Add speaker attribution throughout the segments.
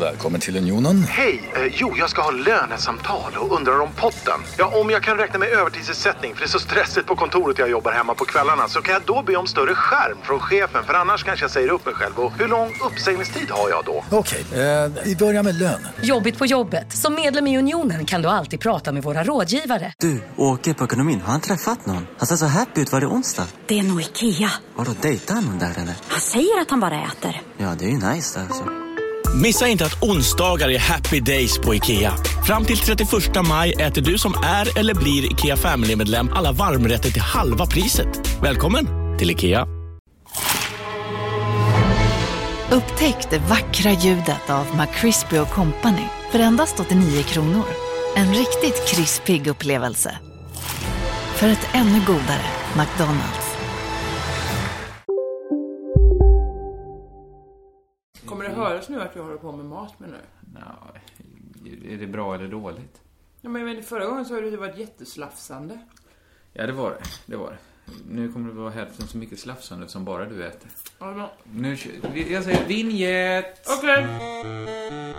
Speaker 1: Välkommen till Unionen.
Speaker 2: Hej! Eh, jo, jag ska ha lönesamtal och undrar om potten. Ja, om jag kan räkna med övertidsersättning för det är så stressigt på kontoret jag jobbar hemma på kvällarna så kan jag då be om större skärm från chefen för annars kanske jag säger upp mig själv. Och hur lång uppsägningstid har jag då?
Speaker 1: Okej, eh, vi börjar med lön.
Speaker 3: Jobbigt på jobbet. Som medlem i Unionen kan du alltid prata med våra rådgivare.
Speaker 4: Du, åker på ekonomin, har han träffat någon? Han ser så happy ut. Var det onsdag?
Speaker 5: Det är nog Ikea.
Speaker 4: Har du dejtar han någon där eller?
Speaker 5: Han säger att han bara äter.
Speaker 4: Ja, det är ju nice där alltså.
Speaker 6: Missa inte att onsdagar är happy days på IKEA. Fram till 31 maj äter du som är eller blir IKEA Family-medlem alla varmrätter till halva priset. Välkommen till IKEA.
Speaker 7: Upptäck det vackra ljudet av McCrispy Company för endast 89 kronor. En riktigt krispig upplevelse. För ett ännu godare McDonalds.
Speaker 8: Kommer det höras nu att jag håller på med mat med nu?
Speaker 9: Ja, är det bra eller dåligt?
Speaker 8: Ja, men jag vet, förra gången så har det varit jätteslafsande.
Speaker 9: Ja, det var det. Det var det. Nu kommer det vara hälften så mycket slafsande som bara du äter.
Speaker 8: Ja, men-
Speaker 9: Nu kö- Jag säger vinjett!
Speaker 8: Okej!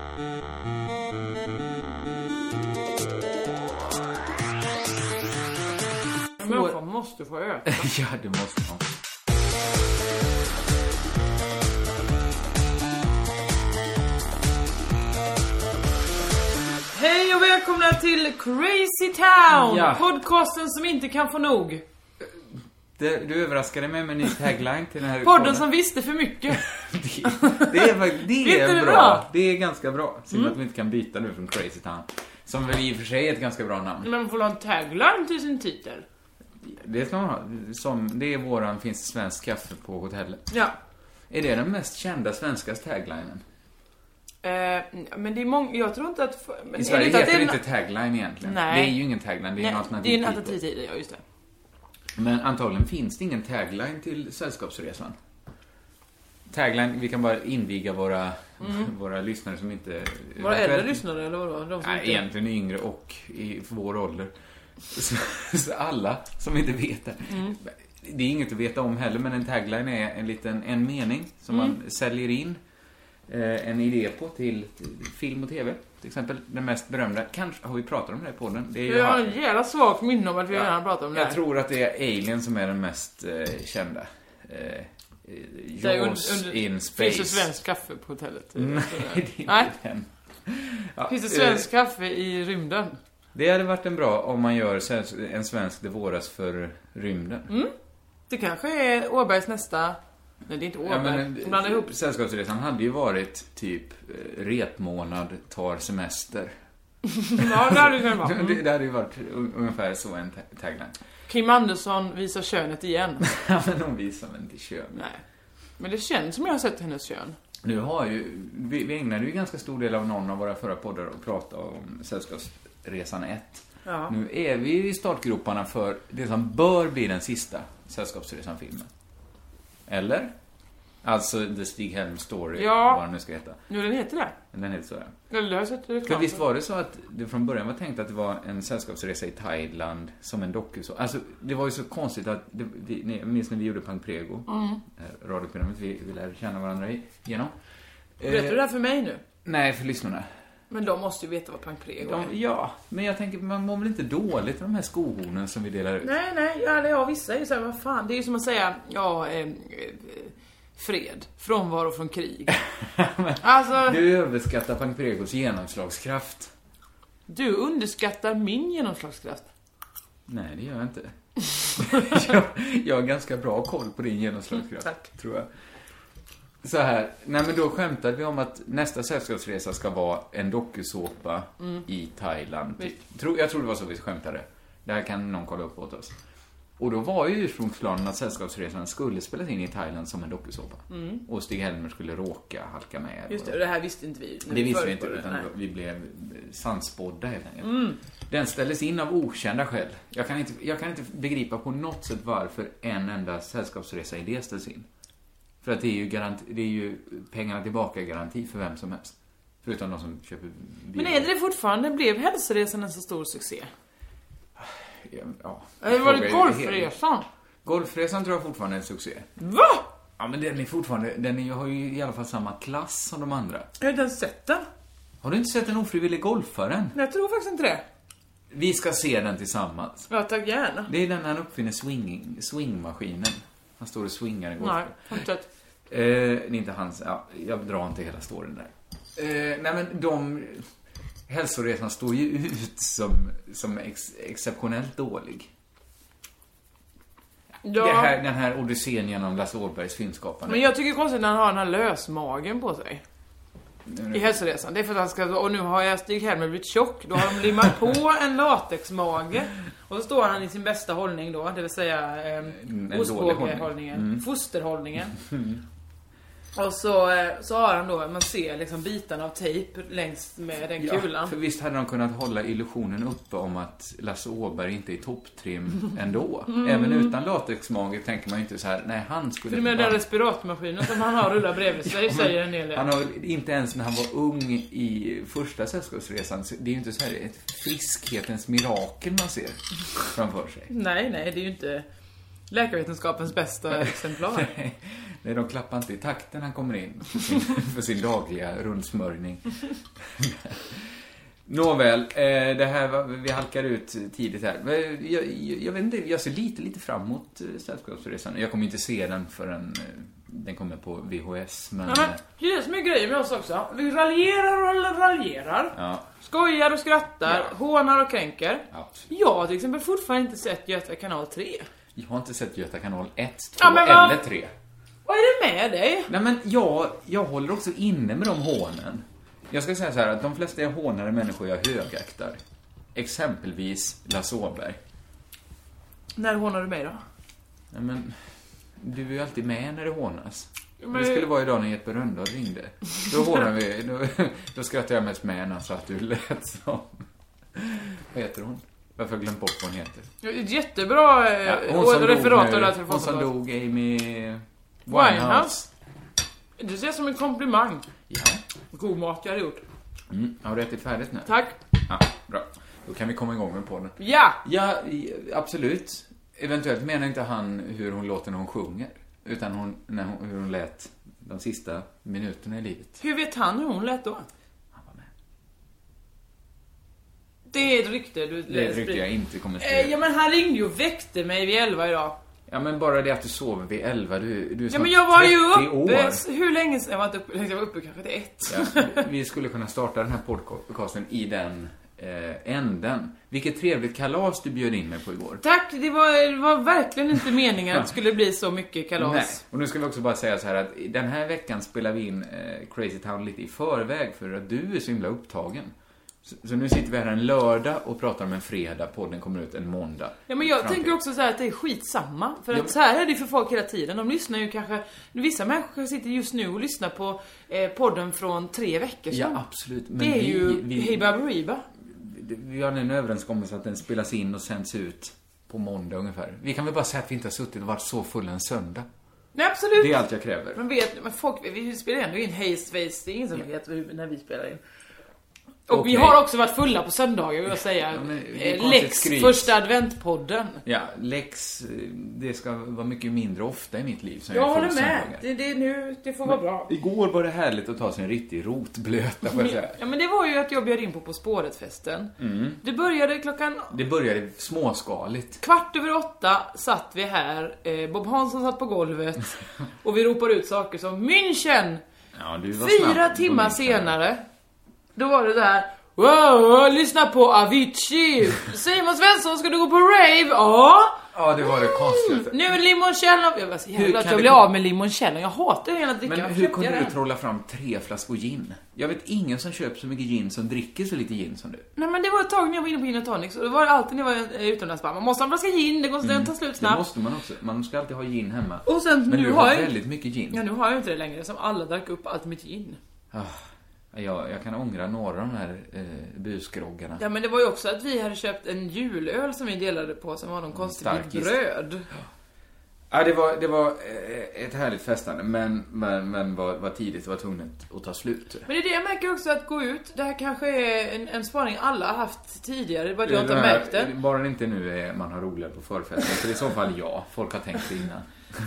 Speaker 8: Människan måste få äta.
Speaker 9: ja, det måste man.
Speaker 8: Hej och välkomna till Crazy Town!
Speaker 9: Ja.
Speaker 8: Podcasten som inte kan få nog.
Speaker 9: Det, du överraskade mig med en ny tagline till den här
Speaker 8: Podden som visste för mycket.
Speaker 9: Det, det är, fakt- det
Speaker 8: Visst
Speaker 9: är
Speaker 8: är det
Speaker 9: bra.
Speaker 8: bra? Mm.
Speaker 9: Det är ganska bra. Synd att vi inte kan byta nu från Crazy Town. Som väl i och för sig är ett ganska bra namn.
Speaker 8: Men man får ha en tagline till sin titel.
Speaker 9: Det ska man ha. Som, det är våran Finns det svensk kaffe på hotellet?
Speaker 8: Ja.
Speaker 9: Är det den mest kända svenska taglinen?
Speaker 8: Eh, men det är många, jag tror inte att... men är
Speaker 9: I Sverige
Speaker 8: inte att
Speaker 9: heter det
Speaker 8: är-
Speaker 9: inte tagline egentligen.
Speaker 8: Nej.
Speaker 9: Det är ju ingen tagline, alltså, det är
Speaker 8: Nej,
Speaker 9: en
Speaker 8: det är en
Speaker 9: alternativ titel.
Speaker 8: alternativ titel, ja just det.
Speaker 9: Men antagligen finns det ingen tagline till Sällskapsresan. Tagline, vi kan bara inviga våra, våra lyssnare som inte...
Speaker 8: Mm. Våra äldre
Speaker 9: eventuellt-
Speaker 8: lyssnare eller vadå? De som
Speaker 9: Nej,
Speaker 8: inte...
Speaker 9: egentligen yngre och i vår ålder. Så, så alla som inte vet det.
Speaker 8: Mm.
Speaker 9: Det är inget att veta om heller, men en tagline är en liten en mening som
Speaker 8: Mm.
Speaker 9: man säljer in eh, en idé på till film och TV. Till exempel den mest berömda, kanske har vi pratat om det här på den? Det är ju
Speaker 8: Jag har
Speaker 9: han-
Speaker 8: en jävla svagt minne om att vi redan pratat om det
Speaker 9: jag
Speaker 8: här.
Speaker 9: tror att det är Alien som är den mest eh, kända. Eh, eh,
Speaker 8: Det är
Speaker 9: Jaws
Speaker 8: under- under-
Speaker 9: in
Speaker 8: Finns det
Speaker 9: space. Mm.
Speaker 8: svensk kaffe på hotellet?
Speaker 9: Nej, det är
Speaker 8: Nej.
Speaker 9: inte den. Ja,
Speaker 8: Finns det
Speaker 9: eh,
Speaker 8: svensk kaffe i rymden?
Speaker 9: Det hade varit en bra om man gör svensk- en svensk Det våras för rymden.
Speaker 8: Det kanske är Åbergs nästa... Nej, det är inte
Speaker 9: Ja,
Speaker 8: Åberg.
Speaker 9: men,
Speaker 8: De blandar ihop.
Speaker 9: Sällskapsresan hade ju varit typ eh, repmånad tar semester.
Speaker 8: Ja, det hade det kunnat vara.
Speaker 9: Det, det hade ju varit un- ungefär så en ta- tagline.
Speaker 8: Kim Andersson visar könet igen.
Speaker 9: Ja, men hon visar väl inte kön.
Speaker 8: Nej. Men det känns som jag har sett hennes kön.
Speaker 9: Nu har ju, vi, vi ägnade ju ganska stor del av någon av våra förra poddar att prata om Sällskapsresan 1.
Speaker 8: Ja.
Speaker 9: Nu är vi ju i startgroparna för det som bör bli den sista Sällskapsresan-filmen. Eller? Alltså The Stig Helm Story,
Speaker 8: Ja.
Speaker 9: vad den nu ska heta.
Speaker 8: Jo, den heter det.
Speaker 9: Den heter så, ja.
Speaker 8: Eller jag har sett
Speaker 9: För
Speaker 8: reklam.
Speaker 9: visst
Speaker 8: för.
Speaker 9: var det så att det från början var tänkt att det var en sällskapsresa i Thailand som en dokusåpa? Alltså, det var ju så konstigt att... Det, vi, ni, jag minns när vi gjorde Pang Prego? Mm. Radioprogrammet vi, vi lärde känna varandra i- genom.
Speaker 8: Berättar du det här för mig nu?
Speaker 9: Nej, för lyssnarna.
Speaker 8: Men de måste ju veta vad Pank Prego är.
Speaker 9: De, ja, men jag tänker, man mår väl inte dåligt av de här skohornen som vi delar ut?
Speaker 8: Nej, nej, ja, eller ja, vissa är ju såhär, vad fan, det är ju som att säga, ja, eh, eh, fred, frånvaro från krig. alltså, du...
Speaker 9: Du överskattar Pang Pregos genomslagskraft.
Speaker 8: underskattar min genomslagskraft.
Speaker 9: Nej, det gör jag inte. jag, jag har ganska bra koll på din genomslagskraft,
Speaker 8: Mm, tack.
Speaker 9: tror jag. Så här, nej men då skämtade vi om att nästa sällskapsresa ska vara en dokusåpa
Speaker 8: Mm.
Speaker 9: i Thailand. Typ. Tror- Jag tror det var så vi skämtade. Det här kan någon kolla upp åt oss. Och då var ju ursprungsplanen att Sällskapsresan skulle spelas in i Thailand som en dokusåpa. Och Stig-Helmer skulle råka halka med.
Speaker 8: Mm. Just det,
Speaker 9: och-
Speaker 8: och det här visste inte vi. när
Speaker 9: det visste vi inte,
Speaker 8: förutspådde det,
Speaker 9: utan
Speaker 8: nej. Mm.
Speaker 9: vi blev sannspådda helt enkelt. Den ställdes in av okända skäl. Jag kan, inte, jag kan inte begripa på något sätt varför en enda sällskapsresa-idé ställs in. För att det är ju, garant, det är ju pengarna tillbaka-garanti för vem som helst. Förutom de som köper bilar.
Speaker 8: Men är det det fortfarande? Blev hälsoresan en så stor succé?
Speaker 9: Ja,
Speaker 8: Eller var det golfresan?
Speaker 9: Golfresan tror jag fortfarande är en succé.
Speaker 8: Va?
Speaker 9: Ja, men den är fortfarande, den är, har ju i alla fall samma klass som de andra.
Speaker 8: Jag har inte ens sett den.
Speaker 9: Har du inte sett den ofrivillig golfaren?
Speaker 8: Men jag tror faktiskt inte det.
Speaker 9: Vi ska se den tillsammans.
Speaker 8: Ja, tack gärna.
Speaker 9: Det är den han uppfinner swinging, swingmaskinen. Han står och swingar i
Speaker 8: Nej,
Speaker 9: golfen.
Speaker 8: fortsätt.
Speaker 9: Eh, det är inte hans, ja, jag drar inte hela storyn där. Eh, nej men de, hälsoresan står ju ut som, som ex, exceptionellt dålig.
Speaker 8: Ja,
Speaker 9: Det här, den här odyssén genom Lasse Åbergs filmskapande.
Speaker 8: men jag tycker det är konstigt när han har den här lösmagen på sig. I hälsoresan. Det är för att han ska, och nu har jag Stig-Helmer blivit tjock. Då har de limmat på en latexmage. Och så står han i sin bästa hållning då, det vill säga
Speaker 9: En
Speaker 8: eh,
Speaker 9: dålig Mm.
Speaker 8: ostbågehållningen. Fosterhållningen. Och så, eh, så har han då, man ser liksom bitarna av tejp längs med den
Speaker 9: Ja,
Speaker 8: kulan.
Speaker 9: för visst hade de kunnat hålla illusionen uppe om att Lasse Åberg inte är topptrim ändå.
Speaker 8: Mm.
Speaker 9: Även utan latexmage tänker man ju inte så här, nej han skulle...
Speaker 8: För med
Speaker 9: bara-
Speaker 8: den respiratormaskinen som han har rullar bredvid sig säger en hel del.
Speaker 9: Han har väl inte ens när han var ung i första Sällskapsresan, så det är ju inte så här ett friskhetens mirakel man ser framför sig.
Speaker 8: Nej, nej, det är ju inte läkarvetenskapens bästa exemplar.
Speaker 9: Nej, de klappar inte i takten han kommer in för sin, för sin dagliga rundsmörjning. Nåväl, eh, det här var, vi halkar ut tidigt här. Men Jag, jag, jag vet inte, jag ser lite, lite fram emot eh, Sällskapsresan. Jag kommer inte se den förrän eh, den kommer på VHS, men... eh,
Speaker 8: Ja, men det är det som är grejen med oss också. Vi raljerar och raljerar.
Speaker 9: Ja.
Speaker 8: Skojar och skrattar,
Speaker 9: Ja.
Speaker 8: hånar och kränker.
Speaker 9: Absolut.
Speaker 8: Jag har till exempel fortfarande inte sett Göta kanal 3.
Speaker 9: Jag har inte sett Göta kanal 1, 2
Speaker 8: Ja, men vad-
Speaker 9: eller 3.
Speaker 8: Vad är det med dig?
Speaker 9: Nej men jag, jag håller också inne med de hånen. Jag ska säga så här att de flesta jag hånar är människor jag högaktar. Exempelvis Lasse Åberg.
Speaker 8: När hånar du mig då?
Speaker 9: Nej men, du är ju alltid med när det hånas.
Speaker 8: men-
Speaker 9: Det skulle vara idag när Jesper Rönndahl ringde. Då hånade vi, då, då skrattade jag mest med henne så att du lät som... Vad heter hon? Varför har jag glömt bort vad hon heter?
Speaker 8: Ja, Ett jättebra
Speaker 9: Ja,
Speaker 8: eh,
Speaker 9: hon som dog
Speaker 8: referat av
Speaker 9: nu-
Speaker 8: det här
Speaker 9: Hon som
Speaker 8: telefonsamtalet.
Speaker 9: dog, Amy... Winehouse.
Speaker 8: Winehouse. Det ser jag som en komplimang.
Speaker 9: Ja.
Speaker 8: God mat jag har gjort.
Speaker 9: Mm. Har du ätit färdigt nu?
Speaker 8: Tack.
Speaker 9: Ja, bra. Då kan vi komma igång med podden.
Speaker 8: Ja!
Speaker 9: Ja, i- absolut. Eventuellt menar inte han hur hon låter när hon sjunger. Utan hon, när hon, hur hon lät de sista minuterna i livet.
Speaker 8: Hur vet han hur hon lät då?
Speaker 9: Han var med.
Speaker 8: Det är ett rykte du
Speaker 9: Det tyckte jag inte kommer
Speaker 8: Eh, ja
Speaker 9: skriva.
Speaker 8: men han ringde ju och väckte mig vid 11 idag.
Speaker 9: Ja, men bara det att du sover vid elva, du, du är
Speaker 8: Ja
Speaker 9: snart
Speaker 8: men jag var
Speaker 9: 30
Speaker 8: ju uppe,
Speaker 9: år.
Speaker 8: s- hur länge sen? Jag var inte uppe, jag var uppe kanske till ett.
Speaker 9: Ja, vi skulle kunna starta den här podcasten i den eh, änden. Vilket trevligt kalas du bjöd in mig på igår.
Speaker 8: Tack, det var, det var verkligen inte meningen att det skulle bli så mycket
Speaker 9: Nej.
Speaker 8: kalas.
Speaker 9: Och nu ska vi också bara säga så här att i den här veckan spelar vi in eh, Crazy Town lite i förväg för att du är så himla upptagen. Så, så nu sitter vi här en lördag och pratar om en fredag, podden kommer ut en måndag.
Speaker 8: Ja, men jag
Speaker 9: Framtid.
Speaker 8: tänker också så här att det är skitsamma. För att
Speaker 9: Ja, men-
Speaker 8: så här är det ju för folk hela tiden. De lyssnar ju kanske, vissa människor sitter just nu och lyssnar på eh, podden från tre veckor
Speaker 9: Ja,
Speaker 8: sedan.
Speaker 9: absolut. Men
Speaker 8: det är
Speaker 9: vi,
Speaker 8: ju
Speaker 9: vi,
Speaker 8: Hey Baberiba.
Speaker 9: vi har en överenskommelse att den spelas in och sänds ut på måndag ungefär. Vi kan väl bara säga att vi inte har suttit och varit så fulla en söndag.
Speaker 8: Nej absolut.
Speaker 9: Det är allt jag kräver.
Speaker 8: Men vet, men folk, vi spelar ändå in Hey Space, det är ingen som vet hur- när vi spelar in. Och vi
Speaker 9: Okej.
Speaker 8: har också varit fulla på söndagar vill jag säga.
Speaker 9: Ja, men det är
Speaker 8: Eh,
Speaker 9: konstigt
Speaker 8: Lex
Speaker 9: skryt.
Speaker 8: första adventpodden.
Speaker 9: Ja, Lex, eh, det ska vara mycket mindre ofta i mitt liv. som
Speaker 8: Jag
Speaker 9: är full
Speaker 8: håller med.
Speaker 9: söndagar.
Speaker 8: Det, det, är nu, det får vara bra.
Speaker 9: Igår var det härligt att ta sig en riktig rotblöta, får jag säga.
Speaker 8: Ja men det var ju att jag bjöd in på På spåret-festen. Det började klockan
Speaker 9: Det började småskaligt.
Speaker 8: kvart över åtta satt vi här, eh, Bob Hansson satt på golvet och vi ropade ut saker som München!
Speaker 9: Ja, du
Speaker 8: Fyra timmar senare, då var det där Wow, wow, lyssna på Avicii! Simon Svensson, ska du gå på rave? Ja!
Speaker 9: Ja, det var det konstigaste.
Speaker 8: Nu är limoncello! Jag var så
Speaker 9: Hur
Speaker 8: jävla att
Speaker 9: kan
Speaker 8: jag
Speaker 9: det
Speaker 8: blir
Speaker 9: komma-
Speaker 8: av med limoncello, jag hatar hela drickan.
Speaker 9: Men
Speaker 8: Varför
Speaker 9: hur
Speaker 8: köpte
Speaker 9: kunde
Speaker 8: jag
Speaker 9: du
Speaker 8: den?
Speaker 9: trolla fram tre flaskor gin? Jag vet ingen som köper så mycket gin som dricker så lite gin som du.
Speaker 8: Nej men det var ett tag när jag var inne på gin och tonics och det var det alltid när jag var eh, utomlands bara, man måste ha en flaska gin, det går den tar slut
Speaker 9: Mm. Det
Speaker 8: snabbt.
Speaker 9: måste man också. Man ska alltid ha gin hemma.
Speaker 8: Och sen
Speaker 9: Men
Speaker 8: nu
Speaker 9: du
Speaker 8: har
Speaker 9: har
Speaker 8: jag-
Speaker 9: väldigt mycket
Speaker 8: Ja
Speaker 9: gin.
Speaker 8: nu har jag inte det längre som alla drack upp allt mitt gin.
Speaker 9: Ah, Jag, jag kan ångra några av de här eh, busgroggarna.
Speaker 8: Ja men det var ju också att vi hade köpt en julöl som vi delade på som var någon konstig bit
Speaker 9: starkis.
Speaker 8: bröd.
Speaker 9: Ja, det var, det var eh, ett härligt festande, men, men, men var, var tidigt, det var tvunget att ta slut.
Speaker 8: Men det är det jag märker också att gå ut, det här kanske är en, en spaning alla har haft tidigare, bara att jag
Speaker 9: Det
Speaker 8: inte har
Speaker 9: här-
Speaker 8: märkt det.
Speaker 9: Bara det inte nu är man har roligare på förfesten, för i så fall ja, folk har tänkt det innan.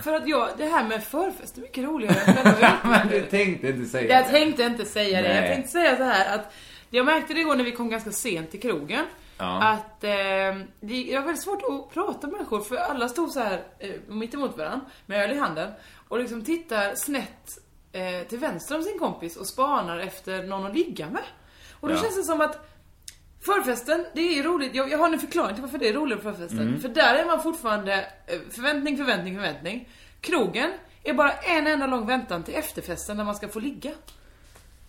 Speaker 8: För att jag, det här med förfest är mycket roligare än själva
Speaker 9: Men du tänkte inte säga
Speaker 8: Jag tänkte inte säga det. Jag
Speaker 9: Nej.
Speaker 8: tänkte säga så här att jag märkte det igår när vi kom ganska sent till krogen.
Speaker 9: Ja.
Speaker 8: Att eh, det det var väldigt svårt att prata med människor för alla stod så här eh, mitt emot varandra med öl i handen och liksom tittar snett eh, till vänster om sin kompis och spanar efter någon att ligga med. Och då
Speaker 9: Ja.
Speaker 8: känns det som att Förfesten, det är ju roligt. Jag, jag har en förklaring till varför det är roligare på förfesten.
Speaker 9: Mm.
Speaker 8: För där är man fortfarande eh, förväntning, förväntning, förväntning. Krogen är bara en enda lång väntan till efterfesten när man ska få ligga.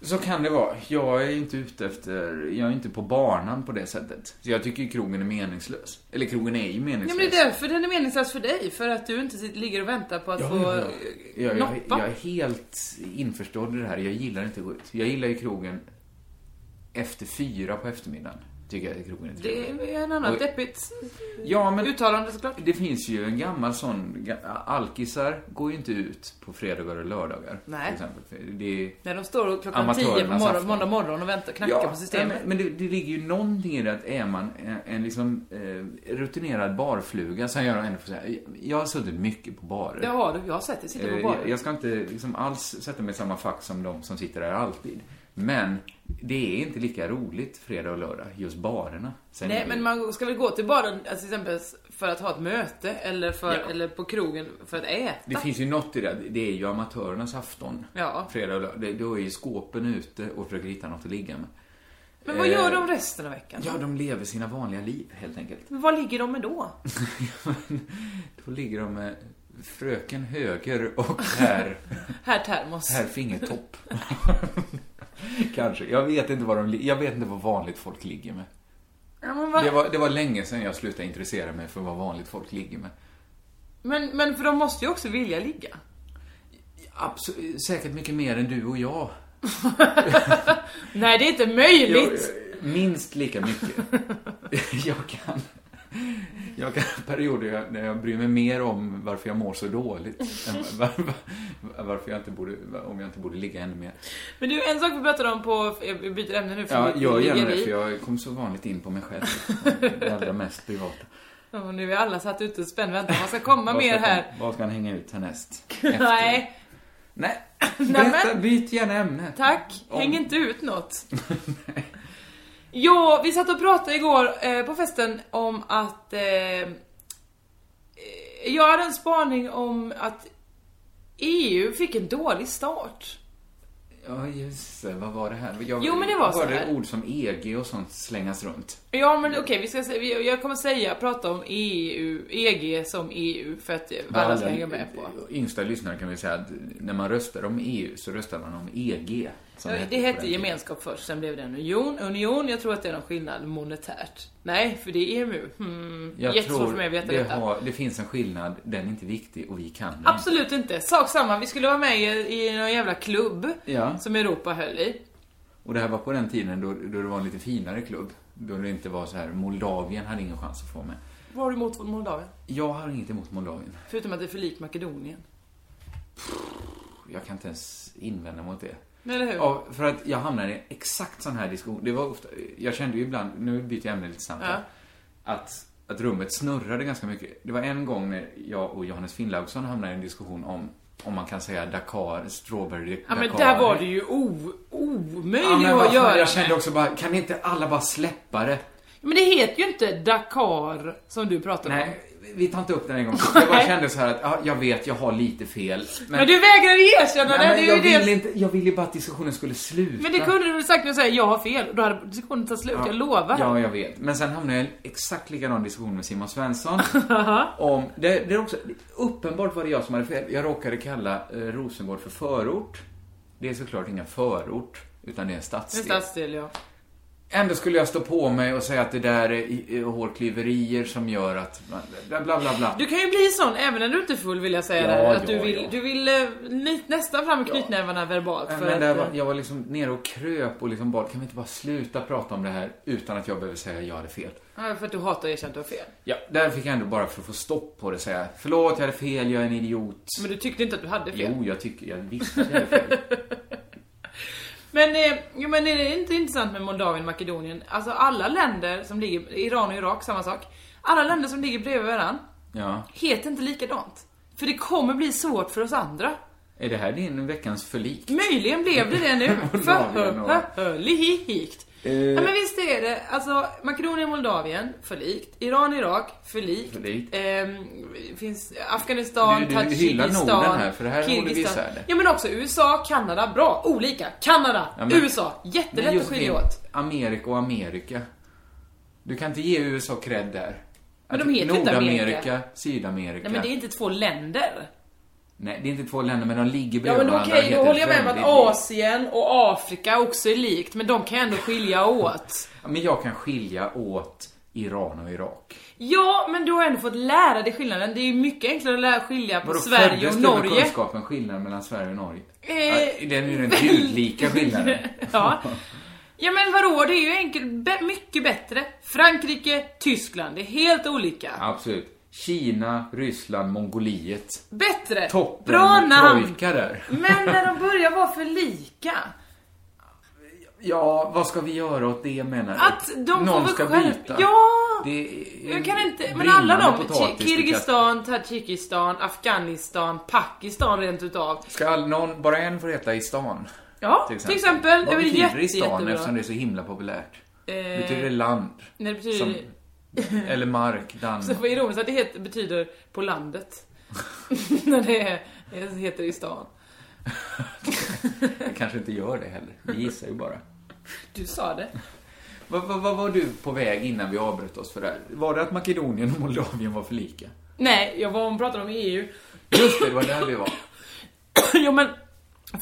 Speaker 9: Så kan det vara. Jag är inte ute efter, jag är inte på banan på det sättet. Så jag tycker ju krogen är meningslös. Eller krogen är ju
Speaker 8: Nej,
Speaker 9: meningslös.
Speaker 8: men det är därför den är meningslös för dig. För att du inte sit- ligger och väntar på att få
Speaker 9: Ja,
Speaker 8: eh,
Speaker 9: jag, jag,
Speaker 8: noppa.
Speaker 9: jag är helt införstådd i det här. Jag gillar inte att gå ut. Jag gillar ju krogen efter fyra på eftermiddagen. Tycker jag att krogen är
Speaker 8: Det
Speaker 9: trevlig.
Speaker 8: är en annan
Speaker 9: Och-
Speaker 8: deppigt
Speaker 9: Ja, men
Speaker 8: uttalande såklart.
Speaker 9: det finns ju en gammal sån... ga- Alkisar går ju inte ut på fredagar och lördagar.
Speaker 8: Nej.
Speaker 9: Till exempel. För Det är,
Speaker 8: När de står och klockan 10
Speaker 9: Amatörernas
Speaker 8: på morgon,
Speaker 9: afton.
Speaker 8: måndag morgon och väntar och knackar på systemet.
Speaker 9: Men, men det, det ligger ju någonting i det att är man en, en liksom, eh, rutinerad barfluga, så jag ändå får säga, jag har suttit mycket på barer.
Speaker 8: Det har du, jag har sett det. Sitter på
Speaker 9: Eh,
Speaker 8: baren.
Speaker 9: jag, jag ska inte liksom alls sätta mig i samma fack som de som sitter där alltid. Men det är inte lika roligt fredag och lördag, just barerna. Sen är
Speaker 8: Nej
Speaker 9: det-
Speaker 8: men man ska väl gå till baren alltså, till exempel för att ha ett möte eller, för,
Speaker 9: Ja.
Speaker 8: eller på krogen för att äta.
Speaker 9: Det finns ju något i det. Det är ju amatörernas afton.
Speaker 8: Ja.
Speaker 9: Fredag och lördag. Det- Då är ju skåpen ute och försöker hitta något att ligga med.
Speaker 8: Men vad gör de resten av veckan?
Speaker 9: Eh, Ja, de lever sina vanliga liv helt enkelt.
Speaker 8: Men Vad ligger de med då?
Speaker 9: Då ligger de med fröken höger och herr,
Speaker 8: Här termos.
Speaker 9: herr fingertopp. Kanske. Jag vet inte vad de li- Jag vet inte vad vanligt folk ligger med.
Speaker 8: Ja, men, vad-
Speaker 9: Det var, det var länge sedan jag slutade intressera mig för vad vanligt folk ligger med.
Speaker 8: men, men för de måste ju också vilja ligga.
Speaker 9: Absolut, säkert mycket mer än du och jag.
Speaker 8: Nej det är inte möjligt!
Speaker 9: minst lika mycket. jag kan... Jag kan ha perioder jag- när jag bryr mig mer om varför jag mår så dåligt. än var- var- varför jag inte borde, om jag inte borde ligga ännu mer.
Speaker 8: Men du, en sak vi pratade om på... Jag byter ämne nu för
Speaker 9: Ja,
Speaker 8: vi
Speaker 9: gör
Speaker 8: ligger
Speaker 9: gärna det,
Speaker 8: i.
Speaker 9: för jag kom så vanligt in på mig själv. Det allra mest privata.
Speaker 8: Ja, och nu är alla satt ute och spänd väntan. Vad ska komma
Speaker 9: Vad ska
Speaker 8: mer
Speaker 9: han-
Speaker 8: här?
Speaker 9: Vad ska han hänga ut härnäst? Efter.
Speaker 8: Nej,
Speaker 9: Nej.
Speaker 8: men-
Speaker 9: Berätta, byt gärna ämne.
Speaker 8: tack.
Speaker 9: Om-
Speaker 8: Häng inte ut något. Ja, vi satt och pratade igår eh, på festen om att... Eh, eh, jag hade en spaning om att EU fick en dålig start.
Speaker 9: Ja, just det. Vad var det här? Jag
Speaker 8: Jo, men det var så
Speaker 9: hörde
Speaker 8: här.
Speaker 9: ord som EG och sånt slängas runt.
Speaker 8: Ja men okej, vi ska se, vi- jag kommer säga, prata om E EU, EG som EU för att alla ska hänga med på.
Speaker 9: Yngsta lyssnare kan vi säga att när man röstar om EU så röstar man om EG. som
Speaker 8: Ja,
Speaker 9: hette
Speaker 8: Det
Speaker 9: på
Speaker 8: hette
Speaker 9: den tiden.
Speaker 8: gemenskap först, sen blev det en union. Union, jag tror att det är någon skillnad monetärt. Nej, för det är EMU. Hmm.
Speaker 9: Jag
Speaker 8: Jättesvårt
Speaker 9: tror
Speaker 8: för mig att veta
Speaker 9: det,
Speaker 8: detta.
Speaker 9: har, det finns en skillnad, den är inte viktig och vi kan den.
Speaker 8: Absolut inte. Sak samma, vi skulle vara med i, i någon jävla klubb
Speaker 9: Ja.
Speaker 8: som Europa höll i.
Speaker 9: Och det här var på den tiden då, då det var en lite finare klubb. Då det inte var så här, Moldavien hade ingen chans att få med.
Speaker 8: Vad har du emot Moldavien?
Speaker 9: Jag har inget emot Moldavien.
Speaker 8: Förutom att det är för likt Makedonien.
Speaker 9: Jag kan inte ens invända mot det.
Speaker 8: Men Eller hur?
Speaker 9: Ja, för att jag hamnade i en exakt sån här diskussion. Det var ofta, jag kände ju ibland, nu byter jag ämne lite snabbt här, att, att rummet snurrade ganska mycket. Det var en gång när jag och Johannes Finnlaugsson hamnade i en diskussion om om man kan säga Dakar, Strawberry
Speaker 8: ja men
Speaker 9: Dakar.
Speaker 8: där var det ju o, omöjligt
Speaker 9: Ja, men
Speaker 8: att
Speaker 9: vad fan,
Speaker 8: göra.
Speaker 9: Jag kände också bara, kan inte alla bara släppa det?
Speaker 8: Men det heter ju inte Dakar som du pratar om.
Speaker 9: Nej, vi tar inte upp den en gång till. Jag bara
Speaker 8: Nej.
Speaker 9: kände så här att, ja, jag vet, jag har lite fel. Men,
Speaker 8: Men du vägrade erkänna
Speaker 9: nej,
Speaker 8: det,
Speaker 9: men
Speaker 8: det är
Speaker 9: jag,
Speaker 8: ju det.
Speaker 9: ville inte, jag ville bara att diskussionen skulle sluta.
Speaker 8: Men det kunde du väl sagt med att säga jag har fel, då hade diskussionen tagit slut, jag lovar.
Speaker 9: Ja, jag vet. Men sen hamnade jag i en exakt likadan diskussion med Simon Svensson. om, det, det är också, uppenbart var det jag som hade fel. Jag råkade kalla eh, Rosengård för förort. Det är såklart ingen förort, utan det är en
Speaker 8: En
Speaker 9: stadsdel.
Speaker 8: stadsdel ja.
Speaker 9: Ändå skulle jag stå på mig och säga att det där är eh, hårklyverier som gör att... man- Bla, bla, bla. bla.
Speaker 8: Du kan ju bli sån även när du inte är full vill jag säga
Speaker 9: Ja,
Speaker 8: det här, Att
Speaker 9: ja,
Speaker 8: du vill,
Speaker 9: ja.
Speaker 8: du vill eh, nyt- nästan fram med knytnävarna verbalt. För
Speaker 9: Men där
Speaker 8: att,
Speaker 9: var,
Speaker 8: eh,
Speaker 9: jag var liksom nere och kröp och liksom bad, kan vi inte bara sluta prata om det här utan att jag behöver säga att jag hade fel?
Speaker 8: eh, ja, för att du hatar att erkänna att du har fel.
Speaker 9: Ja, där fick jag ändå bara för att få stopp på det säga, förlåt jag hade fel, jag är en idiot.
Speaker 8: Men du tyckte inte att du hade fel.
Speaker 9: Jo, jag tycker, jag visste att jag hade fel.
Speaker 8: Men, eh, jo, men är det inte intressant med Moldavien och Makedonien? Alltså alla länder som ligger, Iran och Irak, samma sak. Alla länder som ligger bredvid varandra
Speaker 9: Ja.
Speaker 8: heter inte likadant. För det kommer bli svårt för oss andra.
Speaker 9: Är det här din veckans förlik?
Speaker 8: Möjligen blev det det nu.
Speaker 9: Moldavien och-
Speaker 8: Förhörlihikt.
Speaker 9: Eh.
Speaker 8: Ja men visst är det. Alltså Makedonien, Moldavien, för likt. Iran, Irak, för likt.
Speaker 9: För likt.
Speaker 8: Ehm, finns Afghanistan,
Speaker 9: Du- du hyllar
Speaker 8: Tadzjikistan,
Speaker 9: Norden här, för det här håller vi
Speaker 8: Kirgizistan.
Speaker 9: isär det.
Speaker 8: Ja men också USA, Kanada. Bra, olika. Kanada,
Speaker 9: Ja, men-
Speaker 8: USA.
Speaker 9: Men
Speaker 8: Jättelätt att
Speaker 9: just
Speaker 8: skilja
Speaker 9: det,
Speaker 8: åt.
Speaker 9: Amerika och Amerika. Du kan inte ge USA cred där.
Speaker 8: Men de
Speaker 9: Att
Speaker 8: heter ju inte Amerika.
Speaker 9: Nordamerika, Sydamerika.
Speaker 8: Nej men det är inte två länder.
Speaker 9: Nej, det är inte två länder, men de ligger
Speaker 8: Ja
Speaker 9: bredvid
Speaker 8: men
Speaker 9: varandra.
Speaker 8: okej,
Speaker 9: Det
Speaker 8: då
Speaker 9: heter
Speaker 8: håller jag med om att
Speaker 9: väldigt
Speaker 8: Asien
Speaker 9: likt.
Speaker 8: och Afrika också är likt. Men de kan jag ändå skilja åt.
Speaker 9: Ja, Men jag kan skilja åt Iran och Irak.
Speaker 8: Ja, men du har ändå fått lära dig skillnaden. Det är ju mycket enklare att lära skilja på Sverige
Speaker 9: föddes
Speaker 8: och
Speaker 9: du med
Speaker 8: Norge.
Speaker 9: kunskapen skillnaden mellan Sverige och Norge?
Speaker 8: Eh,
Speaker 9: Ja, den är ju den gudlika skillnaden.
Speaker 8: ja. ja, men vadå? Det är ju enkelt, be- mycket bättre. Frankrike, Tyskland. Det är helt olika.
Speaker 9: Absolut. Kina, Ryssland, Mongoliet.
Speaker 8: Bättre!
Speaker 9: Toppen
Speaker 8: Bra namn!
Speaker 9: trojka där.
Speaker 8: Men när de börjar vara för lika.
Speaker 9: Ja, vad ska vi göra åt det menar du?
Speaker 8: Att de får
Speaker 9: Någon
Speaker 8: väl
Speaker 9: ska
Speaker 8: själv-
Speaker 9: byta.
Speaker 8: Ja!
Speaker 9: Det är
Speaker 8: Jag kan inte, men
Speaker 9: brinnande
Speaker 8: alla de,
Speaker 9: potatis
Speaker 8: Ki-
Speaker 9: du kastar.
Speaker 8: Kirgizistan, Tadzjikistan, Afghanistan, Pakistan rent utav.
Speaker 9: Ska all, någon, bara en få heta i stan?
Speaker 8: Ja, till exempel. Det är
Speaker 9: Vad
Speaker 8: väl
Speaker 9: betyder
Speaker 8: jätte,
Speaker 9: i stan
Speaker 8: jättebra.
Speaker 9: eftersom det är så himla populärt?
Speaker 8: Eh,
Speaker 9: Betyder det land?
Speaker 8: nej, det betyder-
Speaker 9: eller mark, land?
Speaker 8: Så det var ironiskt att det heter, betyder på landet. När det, är, det heter i stan.
Speaker 9: Jag kanske inte gör det heller. Vi gissar ju bara.
Speaker 8: Du sa det.
Speaker 9: Vad vad- vad var du på väg innan vi avbröt oss för det här? Var det att Makedonien och Moldavien var för lika?
Speaker 8: Nej, jag var, hon pratade om EU.
Speaker 9: Just det, det var där vi var.
Speaker 8: jo men,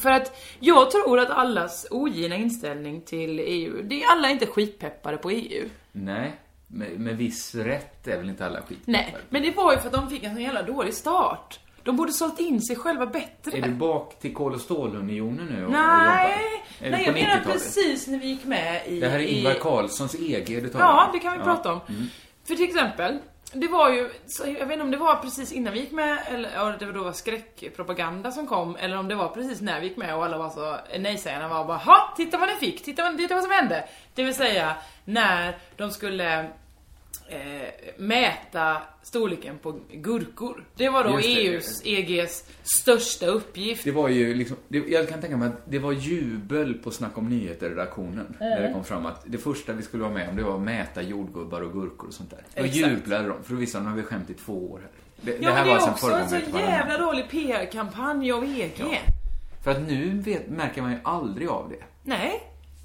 Speaker 8: för att jag tror att allas ogina inställning till EU, det är alla är inte skitpeppade på E EU.
Speaker 9: Nej, med, med viss rätt är väl inte alla skit.
Speaker 8: Nej, men det var ju för att de fick en sån jävla dålig start. De borde sålt in sig själva bättre.
Speaker 9: Är du bak till Kol och stålunionen nu och, och jobbar?
Speaker 8: Nej,
Speaker 9: Är
Speaker 8: nej
Speaker 9: du
Speaker 8: jag
Speaker 9: på
Speaker 8: menar
Speaker 9: 90-talet?
Speaker 8: precis när vi gick med i... E
Speaker 9: Det här är Ingvar
Speaker 8: i-
Speaker 9: Carlssons EG du talar
Speaker 8: Ja,
Speaker 9: om.
Speaker 8: det kan vi prata om.
Speaker 9: Mm.
Speaker 8: För till exempel, det var ju, så jag vet inte om det var precis innan vi gick med, eller ja, det var då var skräckpropaganda som kom, eller om det var precis när vi gick med och alla var så, nej-sägarna var bara ha, titta vad ni fick, titta, vad- titta vad som hände. Det vill säga, när de skulle eh, mäta storleken på gurkor. Det var då E
Speaker 9: Just det.
Speaker 8: EUs, EGs största uppgift.
Speaker 9: Det var ju liksom, det, jag kan tänka mig att det var jubel på Snack om nyheter-redaktionen. När
Speaker 8: Eh.
Speaker 9: det kom fram att det första vi skulle vara med om det var att mäta jordgubbar och gurkor och sånt där. Då
Speaker 8: Exakt.
Speaker 9: jublade de, för då visste de att vi skämt i två år här. Det,
Speaker 8: Ja, men det är också en
Speaker 9: föregångare
Speaker 8: så
Speaker 9: till varandra.
Speaker 8: jävla dålig PR-kampanj av E EG.
Speaker 9: För att nu vet, märker man ju aldrig av det.
Speaker 8: Nej.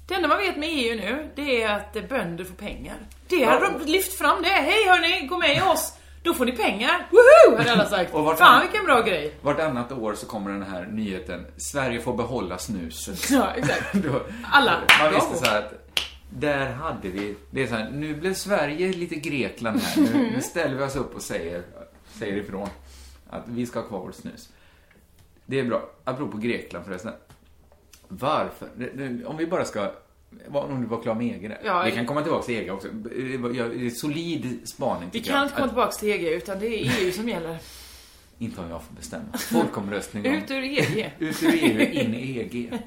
Speaker 8: Det enda man vet med EU nu, det är att eh, bönder får pengar. Det hade de lyft fram det. Hej hörni, gå med i oss! Då får ni pengar! Woho! Hade alla sagt.
Speaker 9: Och vart
Speaker 8: Fan
Speaker 9: fan-
Speaker 8: vilken bra grej!
Speaker 9: Vartannat år så kommer den här nyheten, Sverige får behålla snuset.
Speaker 8: Ja, exakt.
Speaker 9: Då-
Speaker 8: Alla.
Speaker 9: Man
Speaker 8: Bravo.
Speaker 9: visste så här att där hade vi, det är så här, nu blev Sverige lite Grekland här. Nu,
Speaker 8: Mm.
Speaker 9: nu ställer vi oss upp och säger, säger ifrån att vi ska ha kvar vårt snus. Det är bra. Apropå Grekland förresten. Varför? Det- det- Om vi bara ska, vad- om du var klar med EG där.
Speaker 8: Ja,
Speaker 9: vi kan komma tillbaka till EG också. Det var- jag- det är solid spaning
Speaker 8: Vi
Speaker 9: tycker
Speaker 8: kan
Speaker 9: jag.
Speaker 8: inte komma
Speaker 9: Att,
Speaker 8: tillbaka till EG utan det är EU som gäller.
Speaker 9: inte om jag får bestämma. Folkomröstning om
Speaker 8: Ut ur E EG.
Speaker 9: ut ur EU, in i EG.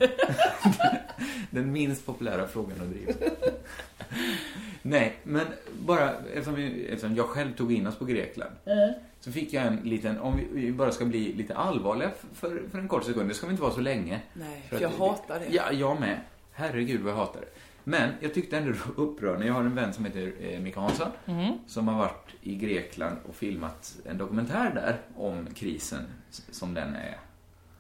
Speaker 9: Den minst populära frågan att driva. Nej, men bara eftersom, vi, eftersom jag själv tog in oss på Grekland. Så fick jag en liten, om vi- vi bara ska bli lite allvarliga f- för, för en kort sekund, det ska vi inte vara så länge.
Speaker 8: Nej,
Speaker 9: att-
Speaker 8: jag hatar det.
Speaker 9: Ja, jag med. Herregud vad jag hatar det. Men jag tyckte ändå det var upprörande. Jag har en vän som heter eh, Micke Hansson
Speaker 8: Mhm.
Speaker 9: som har varit i Grekland och filmat en dokumentär där om krisen s- som den är.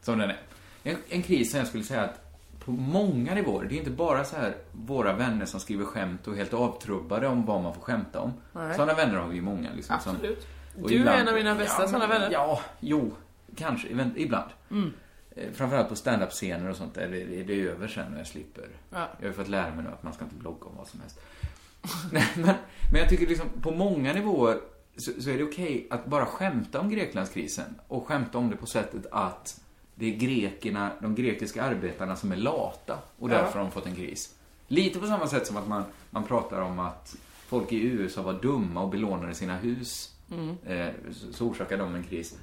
Speaker 9: Som den är. En, en kris som jag skulle säga att på många nivåer, det är inte bara så här våra vänner som skriver skämt och är helt avtrubbade om vad man får skämta om.
Speaker 8: Nej.
Speaker 9: Sådana vänner har vi ju många. Liksom,
Speaker 8: Absolut.
Speaker 9: Som,
Speaker 8: Du är en av mina bästa
Speaker 9: men-
Speaker 8: sådana vänner. Mm.
Speaker 9: Ja, jo, kanske, event- ibland. Eh, Framförallt på stand-up-scener och sånt där, det, det- det är över sen när jag slipper.
Speaker 8: Ja.
Speaker 9: Jag har ju fått lära mig nu att man ska inte blogga om vad som helst. Nej, men, men jag tycker liksom, på många nivåer så, så är det okej att bara skämta om Greklandskrisen och skämta om det på sättet att det är grekerna, de grekiska arbetarna som är lata och därför har de fått en kris. Lite på samma sätt som att man, man pratar om att folk i USA var dumma och belånade sina hus. Eh, så, så orsakade de en kris.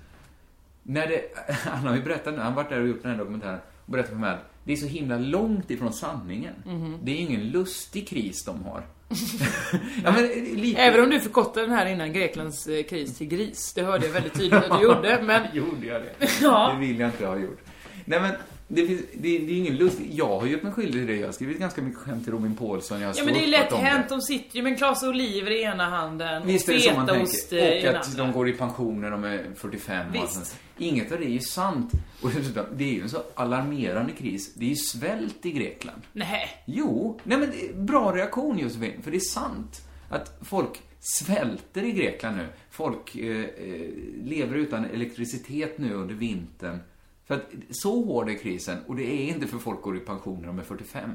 Speaker 9: När det, han har ju berättat nu, han har varit där och gjort den här dokumentären och berättat för mig att det är så himla långt ifrån sanningen.
Speaker 8: Mhm.
Speaker 9: Det är ju ingen lustig kris de har. ja, men eh, lite.
Speaker 8: Även om du förkortade den här innan Greklands eh, kris till gris. Det hörde jag väldigt tydligt att du gjorde. Men
Speaker 9: Gjorde jag det?
Speaker 8: Ja.
Speaker 9: Det vill jag inte ha gjort. Nej men, det, finns, det, det är ingen lust. Jag har gjort mig skyldig till det. Jag har skrivit ganska mycket skämt till Robin Paulsson. Jag har
Speaker 8: Ja men det är ju lätt
Speaker 9: ståuppat om
Speaker 8: hänt, de sitter ju med en klase oliver i ena handen och
Speaker 9: Visst är det så man
Speaker 8: fetaost eh, i
Speaker 9: tänker.
Speaker 8: den
Speaker 9: Och att de
Speaker 8: andra.
Speaker 9: går i pension när de är 45. och allt
Speaker 8: Visst.
Speaker 9: sånt. Inget av det är ju sant. Och dessutom, det är ju en så alarmerande kris. Det är ju svält i Grekland.
Speaker 8: Nej.
Speaker 9: Jo, nej men det är bra reaktion Josefin, för det är sant att folk svälter i Grekland nu. Folk eh, eh, lever utan elektricitet nu under vintern. För att så hård är krisen och det är inte för folk går i pension när de är 45.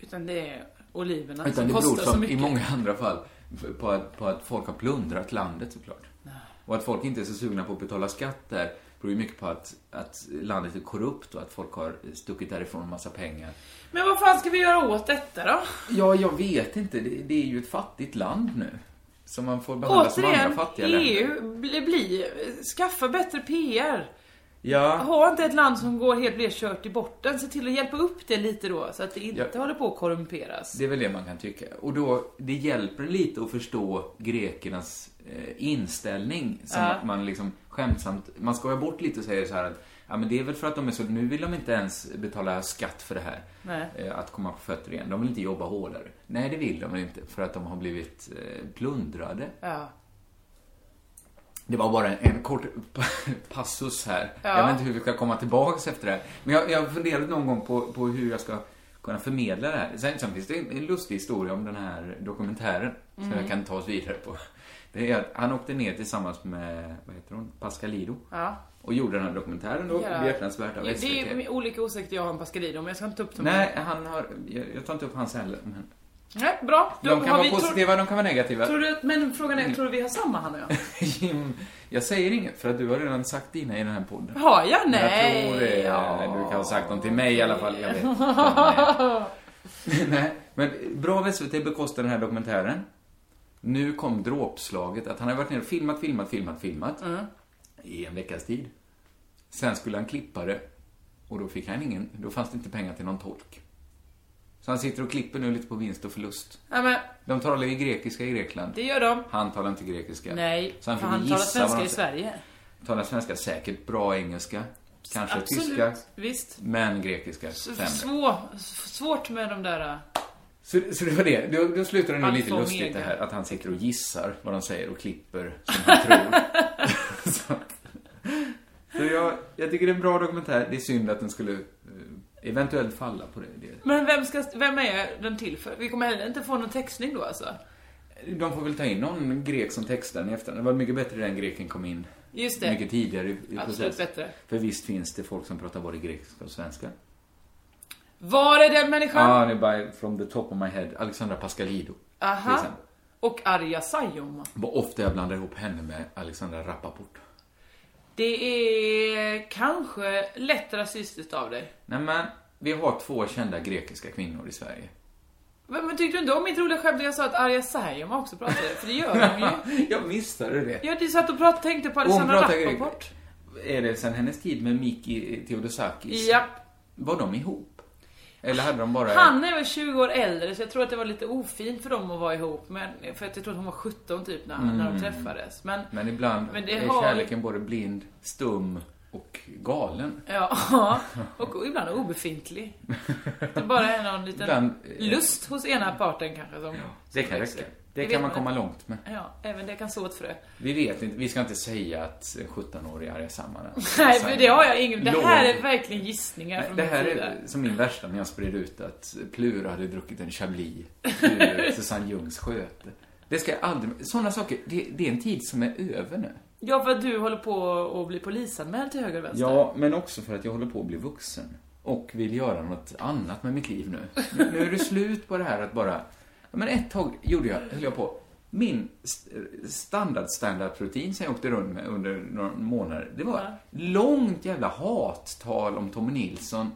Speaker 8: Utan det är oliverna
Speaker 9: Utan
Speaker 8: som
Speaker 9: det beror
Speaker 8: kostar så
Speaker 9: som i
Speaker 8: mycket.
Speaker 9: många andra fall på att, på att folk har plundrat landet såklart. Och att folk inte är så sugna på att betala skatt där beror ju mycket på att, att landet är korrupt och att folk har stuckit därifrån en massa pengar.
Speaker 8: Men vad fan ska vi göra åt detta då?
Speaker 9: Ja, jag vet inte. Det, det är ju ett fattigt land nu. Som man får behandla som andra
Speaker 8: Återigen,
Speaker 9: fattiga länder.
Speaker 8: EU, bli, bli, skaffa bättre PR.
Speaker 9: Ja,
Speaker 8: Ha inte ett land som går helt blir kört i botten. Se till att hjälpa upp det lite då så att det inte
Speaker 9: Ja.
Speaker 8: håller på att korrumperas.
Speaker 9: det är väl det man kan tycka. Och då, det hjälper lite att förstå grekernas eh, inställning. Som
Speaker 8: Ja.
Speaker 9: att man liksom skämtsamt, man skojar bort lite och säger så här att ja men det är väl för att de är så, nu vill de inte ens betala skatt för det här.
Speaker 8: Nej.
Speaker 9: Eh, att komma på fötter igen. De vill inte jobba hårdare. Nej, det vill de inte. För att de har blivit eh, plundrade.
Speaker 8: Ja.
Speaker 9: Det var bara en kort passus här.
Speaker 8: Ja.
Speaker 9: Jag vet inte hur vi ska komma tillbaka efter det här. Men jag, jag har funderat någon gång på, på hur jag ska kunna förmedla det här. Sen, sen finns det en, en lustig historia om den här dokumentären
Speaker 8: Mm.
Speaker 9: som jag kan ta oss vidare på. Det är att han åkte ner tillsammans med, vad heter hon, Pascalido.
Speaker 8: Ja.
Speaker 9: Och gjorde den här dokumentären då,
Speaker 8: Ja.
Speaker 9: behjärtansvärt
Speaker 8: Ja,
Speaker 9: av SVT.
Speaker 8: Det är olika åsikter jag har om Pascalido men jag ska inte ta upp dem.
Speaker 9: Nej, han har, jag, jag tar inte upp hans heller. Men
Speaker 8: Nej, bra. Då
Speaker 9: de kan
Speaker 8: har
Speaker 9: vara
Speaker 8: vi- tror-
Speaker 9: positiva, Mm. de kan vara negativa.
Speaker 8: Tror du, men frågan är, tror du vi har samma han och jag?
Speaker 9: Jim, jag säger inget för att du har redan sagt dina i den här podden.
Speaker 8: Har jag?
Speaker 9: Men
Speaker 8: Nej.
Speaker 9: Jag tror det.
Speaker 8: Ja.
Speaker 9: Du kan ha sagt dem till mig i alla fall. Jag vet. inte. Nej. Nej, men eh, bra av SVT bekostar den här dokumentären. Nu kom dråpslaget att han har varit nere och filmat, filmat, filmat, filmat.
Speaker 8: Mm.
Speaker 9: I en veckas tid. Sen skulle han klippa det. Och då fick han ingen, då fanns det inte pengar till någon tolk. Så han sitter och klipper nu lite på vinst och förlust.
Speaker 8: Nej men,
Speaker 9: De talar ju grekiska i Grekland.
Speaker 8: det gör de.
Speaker 9: Han talar inte grekiska.
Speaker 8: Nej,
Speaker 9: så han
Speaker 8: för
Speaker 9: fick
Speaker 8: han
Speaker 9: gissa
Speaker 8: talar
Speaker 9: vad
Speaker 8: svenska
Speaker 9: de
Speaker 8: i
Speaker 9: sa.
Speaker 8: Sverige.
Speaker 9: Talar svenska säkert, bra engelska. Kanske
Speaker 8: Absolut,
Speaker 9: tyska.
Speaker 8: visst.
Speaker 9: Men grekiska
Speaker 8: S-
Speaker 9: sämre.
Speaker 8: Svå, s- svårt med de där... äh,
Speaker 9: Så, så det var det. Då, då slutar det nu
Speaker 8: Alfa
Speaker 9: lite
Speaker 8: och
Speaker 9: lustigt det
Speaker 8: omega.
Speaker 9: här att han sitter och gissar vad de säger och klipper som han tror. så så jag, jag tycker det är en bra dokumentär. Det är synd att den skulle eh, eventuellt falla på det. det.
Speaker 8: Men vem, ska, vem är den till för? Vi kommer heller inte få någon textning då alltså.
Speaker 9: De får väl ta in någon grek som textar den i efterhand. Det var mycket bättre den greken kom in.
Speaker 8: Just det.
Speaker 9: Mycket tidigare i, i
Speaker 8: Absolut
Speaker 9: processen.
Speaker 8: bättre.
Speaker 9: För visst finns det folk som pratar både grekiska och svenska.
Speaker 8: Var är den människan?
Speaker 9: Ja, ah, det är bara from the top of my head. Alexandra Pascalido. till
Speaker 8: Aha.
Speaker 9: exempel.
Speaker 8: Och Arja Saijonmaa.
Speaker 9: Vad ofta jag blandar ihop henne med Alexandra Rappaport.
Speaker 8: Det är kanske lätt rasistiskt av dig.
Speaker 9: Nej men, vi har två kända grekiska kvinnor i Sverige.
Speaker 8: Men, men tyckte du inte om mitt roliga skämt där jag sa att Arja Saijonmaa också pratade? För det gör hon ju.
Speaker 9: jag missade det.
Speaker 8: Jag satt och pratade, tänkte på
Speaker 9: Hon
Speaker 8: Alexandra
Speaker 9: pratar grek.
Speaker 8: Rappaport.
Speaker 9: Är det sen hennes tid med Miki Theodosakis?
Speaker 8: Japp.
Speaker 9: Var de ihop? Eller hade de bara...
Speaker 8: Han är väl 20 år äldre så jag tror att det var lite ofint för dem att vara ihop. Men, för att jag tror att hon var 17 typ när, när de träffades. Men,
Speaker 9: Mm. Men ibland
Speaker 8: Men det
Speaker 9: är
Speaker 8: har-
Speaker 9: kärleken både blind, stum och galen.
Speaker 8: Ja, och ibland obefintlig. Det bara är någon liten
Speaker 9: Ibland, eh,
Speaker 8: lust hos ena parten kanske som...
Speaker 9: Det kan
Speaker 8: växer.
Speaker 9: räcka. Det
Speaker 8: vet
Speaker 9: kan man komma
Speaker 8: inte.
Speaker 9: långt med.
Speaker 8: Ja, även det kan så ett frö.
Speaker 9: Vi vet inte, vi ska inte säga att 17-åringar är samma.
Speaker 8: Nej, för det har jag ingen... Det här
Speaker 9: Låg.
Speaker 8: är verkligen gissningar
Speaker 9: Nej,
Speaker 8: från
Speaker 9: det här
Speaker 8: min sida.
Speaker 9: är som min värsta när jag spred ut att Plura hade druckit en Chablis ur Susanne Jungs sköte. Det ska jag aldrig... Sådana saker, det, det är en tid som är över nu.
Speaker 8: Ja, för att du håller på att bli polisanmäld till höger och vänster.
Speaker 9: Ja, men också för att jag håller på att bli vuxen. Och vill göra något annat med mitt liv nu. Nu- Nu är det slut på det här att bara... Ja, men ett tag gjorde jag, höll jag på. Min st- standard standard protein som jag åkte runt med under några månader, det var långt jävla hattal om Tommy Nilsson.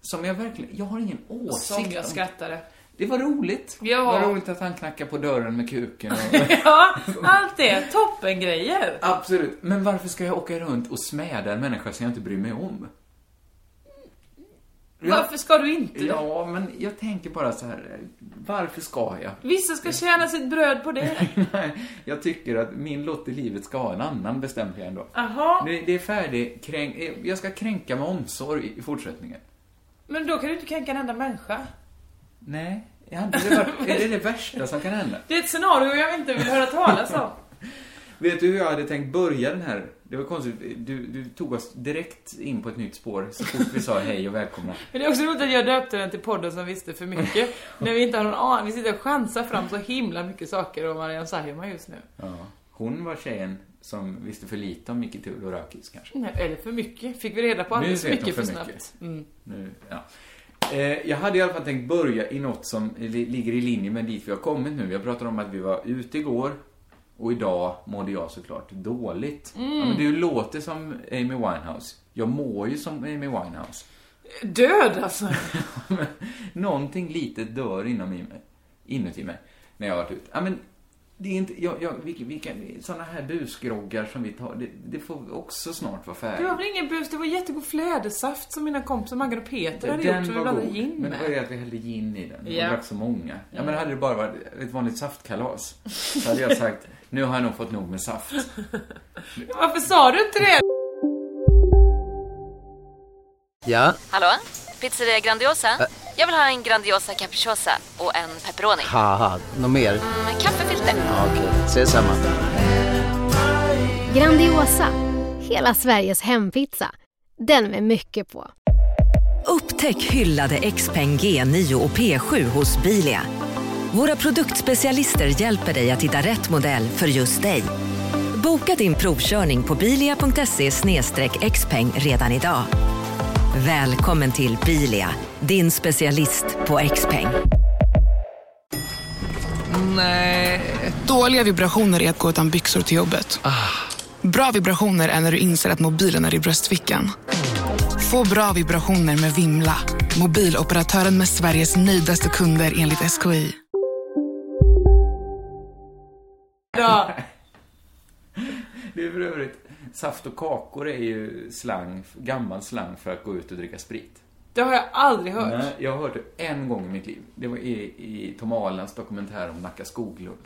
Speaker 9: Som jag verkligen, jag har ingen åsikt
Speaker 8: Som jag
Speaker 9: om.
Speaker 8: skrattade.
Speaker 9: Det var roligt.
Speaker 8: Ja.
Speaker 9: Det var roligt att han knackade på dörren med kuken. Och...
Speaker 8: Ja, allt det. Toppen grejer.
Speaker 9: Absolut. Men varför ska jag åka runt och smäda en människa som jag inte bryr mig om?
Speaker 8: Varför ska du inte det?
Speaker 9: Ja, men jag tänker bara så här. Varför ska jag?
Speaker 8: Vissa ska tjäna sitt bröd på det.
Speaker 9: Nej, jag tycker att min lott i livet ska ha en annan, bestämde jag ändå.
Speaker 8: Jaha,
Speaker 9: Det, det är färdig, kränk, eh, jag ska kränka med omsorg i fortsättningen.
Speaker 8: men då kan du inte kränka en enda människa.
Speaker 9: Nej, jag hade det varit, är det det värsta som kan hända?
Speaker 8: Det är ett scenario jag inte vill höra talas om.
Speaker 9: Vet du hur jag hade tänkt börja den här? Det var konstigt, du, du tog oss direkt in på ett nytt spår så fort vi sa hej och välkomna.
Speaker 8: Men det är också roligt att jag döpte den till podden som visste för mycket. när vi inte har någon aning. Vi sitter och chansar fram så himla mycket saker om Marianne Saijonmaa just nu.
Speaker 9: Ja, hon var tjejen som visste för lite om Micke Thule och Rökis kanske.
Speaker 8: Nej, eller för mycket. Fick vi reda på alldeles
Speaker 9: Mm. vet hon
Speaker 8: mycket för,
Speaker 9: för
Speaker 8: snabbt.
Speaker 9: mycket.
Speaker 8: Mm.
Speaker 9: Nu, ja. eh, jag hade i alla fall tänkt börja i något som li- ligger i linje med dit vi har kommit nu. Jag pratade om att vi var ute igår och idag mådde jag såklart dåligt.
Speaker 8: Mm.
Speaker 9: Ja, men du låter som Amy Winehouse. Jag mår ju som Amy Winehouse.
Speaker 8: Död alltså!
Speaker 9: Men Någonting litet dör inom i mig, inuti mig när jag har varit ute. Ja, men det är inte, jag, jag, vilka, vilka, sådana här busgroggar som vi tar, det, det får också snart vara
Speaker 8: Det
Speaker 9: färdigt.
Speaker 8: var väl ingen bus, det var jättegod flädersaft som mina kompisar Maggan och Peter hade gjort som vi blandade gin
Speaker 9: men det var
Speaker 8: med.
Speaker 9: det att vi hällde gin i den.
Speaker 8: Ja.
Speaker 9: Och drack så många. Ja, men hade det bara varit ett vanligt saftkalas så hade jag sagt, nu har jag nog fått nog med saft.
Speaker 8: Varför sa du inte det?
Speaker 10: Ja,
Speaker 11: Hallå? Pizzeria Grandiosa? Jag vill ha en Grandiosa capriciosa och en pepperoni.
Speaker 10: haha, något mer?
Speaker 11: Med kaffefilter.
Speaker 10: Ja, Okej, ses samma.
Speaker 11: Grandiosa, hela Sveriges hempizza. Den med mycket på.
Speaker 5: Upptäck hyllade XPeng G9 och P7 hos Bilia. Våra produktspecialister hjälper dig att hitta rätt modell för just dig. Boka din provkörning på bilia.se xpeng redan idag. Välkommen till Bilia, din specialist på XPeng.
Speaker 10: Dåliga vibrationer är att gå utan byxor till jobbet. Bra vibrationer är när du inser att mobilen är i bröstfickan. Få bra vibrationer med Vimla. Mobiloperatören med Sveriges nöjdaste kunder enligt SKI.
Speaker 8: Ja,
Speaker 9: Det är för övrigt, saft och kakor är ju slang, gammal slang för att gå ut och dricka sprit.
Speaker 8: det har jag aldrig hört.
Speaker 9: Nej, jag har hört det en gång i mitt liv. Det var i, i Tom Ahlans dokumentär om Nacka Skoglund.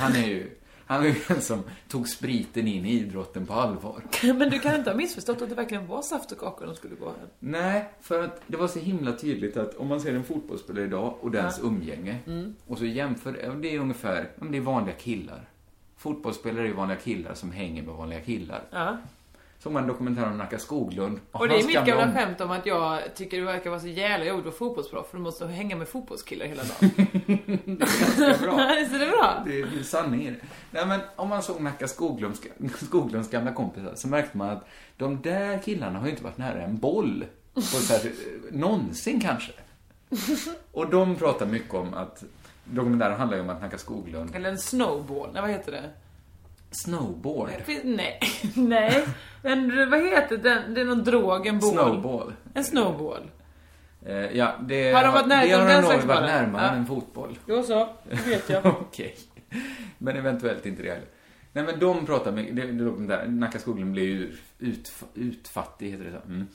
Speaker 9: Han är ju, han är ju den som tog spriten in i idrotten på allvar.
Speaker 8: Men du kan inte ha missförstått att det verkligen var saft och kakor de skulle gå hem.
Speaker 9: Nej, för att det var så himla tydligt att om man ser en fotbollsspelare idag och dens umgänge
Speaker 8: Mm.
Speaker 9: och så jämför, ja, det är ungefär, ja, men det är vanliga killar. Fotbollsspelare är vanliga killar som hänger med vanliga killar.
Speaker 8: Ja.
Speaker 9: Som en dokumentär om Nacka Skoglund.
Speaker 8: Och det är
Speaker 9: hans
Speaker 8: mitt
Speaker 9: gamla
Speaker 8: gamla
Speaker 9: om-
Speaker 8: skämt om att jag tycker du verkar vara så jävla jobbig och fotbollsproff för du måste hänga med fotbollskillar hela dagen.
Speaker 9: Ganska bra.
Speaker 8: Visst är det bra?
Speaker 9: Det är sanning i det. Nej men om man såg Nacka Skoglunds, Skoglunds gamla kompisar så märkte man att de där killarna har ju inte varit nära en boll. På så här, eh, någonsin kanske. Och de pratar mycket om att Dokumentären handlar ju om att Nacka Skoglund
Speaker 8: Eller en snowball, nej vad heter det?
Speaker 9: Snowboard.
Speaker 8: Fin- Nej, nej. Men vad heter den? Det är någon drog, en ball.
Speaker 9: Snowball.
Speaker 8: En snowball.
Speaker 9: Eh, ja, det
Speaker 8: Har de varit nära-
Speaker 9: det har
Speaker 8: den
Speaker 9: de nog
Speaker 8: slags
Speaker 9: varit
Speaker 8: bollen?
Speaker 9: närmare
Speaker 8: Ja.
Speaker 9: än fotboll.
Speaker 8: Jo så, det vet jag.
Speaker 9: Okej. Men eventuellt inte det heller. Nej men de pratar mycket, det, det, de där, Nacka Skoglund blev ju ut, utfattig, heter det så? Mm.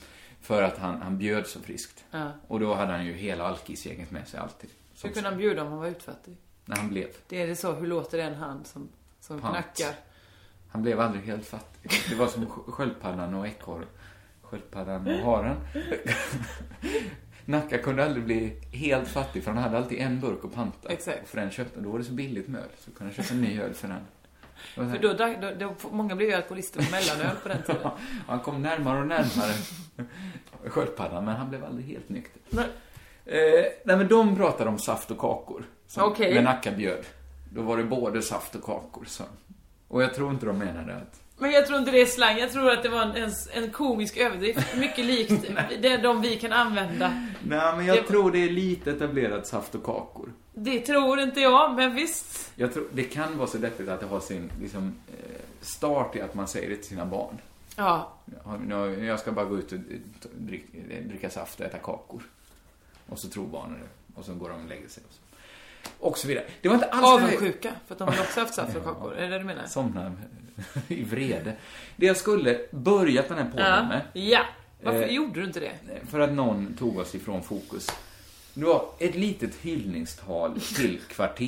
Speaker 9: För att han, han bjöd så friskt.
Speaker 8: Ja.
Speaker 9: Och då hade han ju hela alkisgänget med sig alltid. Som,
Speaker 8: Hur kunde han bjuda om han var utfattig?
Speaker 9: När han blev.
Speaker 8: Det är det så, hur låter den hand som, som
Speaker 9: Pant.
Speaker 8: knackar?
Speaker 9: Han blev aldrig helt fattig. Det var som sj- sköldpaddan och ekorren. Sköldpaddan och haren. Nacka kunde aldrig bli helt fattig för han hade alltid en burk att panta.
Speaker 8: Exakt.
Speaker 9: Och för den köpte, då var det så billigt med öl så kunde han köpa en ny öl för den. Det var så
Speaker 8: För
Speaker 9: här-
Speaker 8: då, drack- då, då, många blev ju alkoholister på mellanöl på den tiden.
Speaker 9: Ja, han kom närmare och närmare sköldpaddan, men han blev aldrig helt nykter.
Speaker 8: Nej.
Speaker 9: Eh, nej, men de pratade om saft och kakor. Som
Speaker 8: Okej.
Speaker 9: Med Nacka bjöd. Då var det både saft och kakor, så. Och jag tror inte de menade att...
Speaker 8: Men jag tror inte det är slang, jag tror att det var en, en, en komisk överdrift. Mycket likt det, de vi kan använda.
Speaker 9: Nej, men jag tror det är lite etablerat saft och kakor.
Speaker 8: Det tror inte jag, men visst.
Speaker 9: Jag tror, det kan vara så deppigt att det har sin liksom, eh, start i att man säger det till sina barn.
Speaker 8: Ja,
Speaker 9: Ja, nu- Jag ska bara gå ut och drick, dricka saft och äta kakor. Och så tror barnen det. Och så går de och lägger sig. Och så, och så vidare. Alltså, Det var inte alls...
Speaker 8: avundsjuka, för att de har också haft saft och kakor. Är det det du menar?
Speaker 9: Somna i vrede. Det jag skulle börjat den här podden
Speaker 8: Ja.
Speaker 9: med
Speaker 8: ja. Varför
Speaker 9: Eh,
Speaker 8: gjorde du inte det?
Speaker 9: För att någon tog oss ifrån fokus. Det var ett litet hyllningstal till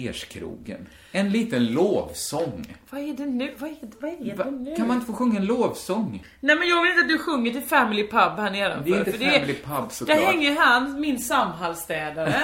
Speaker 9: kvarterskrogen. En liten lovsång.
Speaker 8: Vad är det nu? Vad är det, vad är
Speaker 9: Va-
Speaker 8: det nu?
Speaker 9: Kan man inte få sjunga en lovsång?
Speaker 8: Nej men jag vill inte att du sjunger till Family Pub här nedanför.
Speaker 9: Det är inte
Speaker 8: för
Speaker 9: Family Pub
Speaker 8: Där
Speaker 9: såklart.
Speaker 8: hänger han, min samhällsstädare,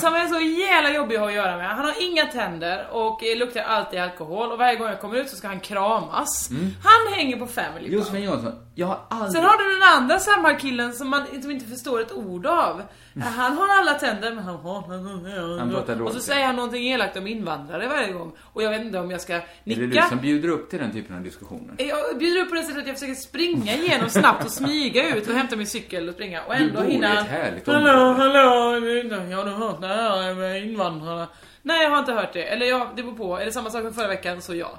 Speaker 8: som är så jävla jobbig att ha att göra med. Han har inga tänder och eh, luktar alltid alkohol och varje gång jag kommer ut så ska han kramas.
Speaker 9: Mm.
Speaker 8: Han hänger på Family Pub.
Speaker 9: Josefin Johansson, jag har aldrig...
Speaker 8: Sen har du den andra samhällskillen som man som inte förstår ett ord av. Han har alla tänder men han har...
Speaker 9: Mm. Han pratar
Speaker 8: Och så
Speaker 9: dåligt.
Speaker 8: säger han någonting elakt om invandrare varje gång. Och jag vet inte om jag ska
Speaker 9: Är det du
Speaker 8: nicka.
Speaker 9: som bjuder upp till den typen av diskussioner?
Speaker 8: Jag bjuder upp på det sättet att jag försöker springa igenom snabbt och smyga ut och hämta min cykel och springa. Och
Speaker 9: Du
Speaker 8: ändå
Speaker 9: bor i
Speaker 8: hinna...
Speaker 9: ett härligt
Speaker 8: Hallå,
Speaker 9: område.
Speaker 8: hallå, jag vet inte, har du hört det här med invandrarna? Nej, jag har inte hört det. Eller ja, det beror på. Är det samma sak som förra veckan så ja.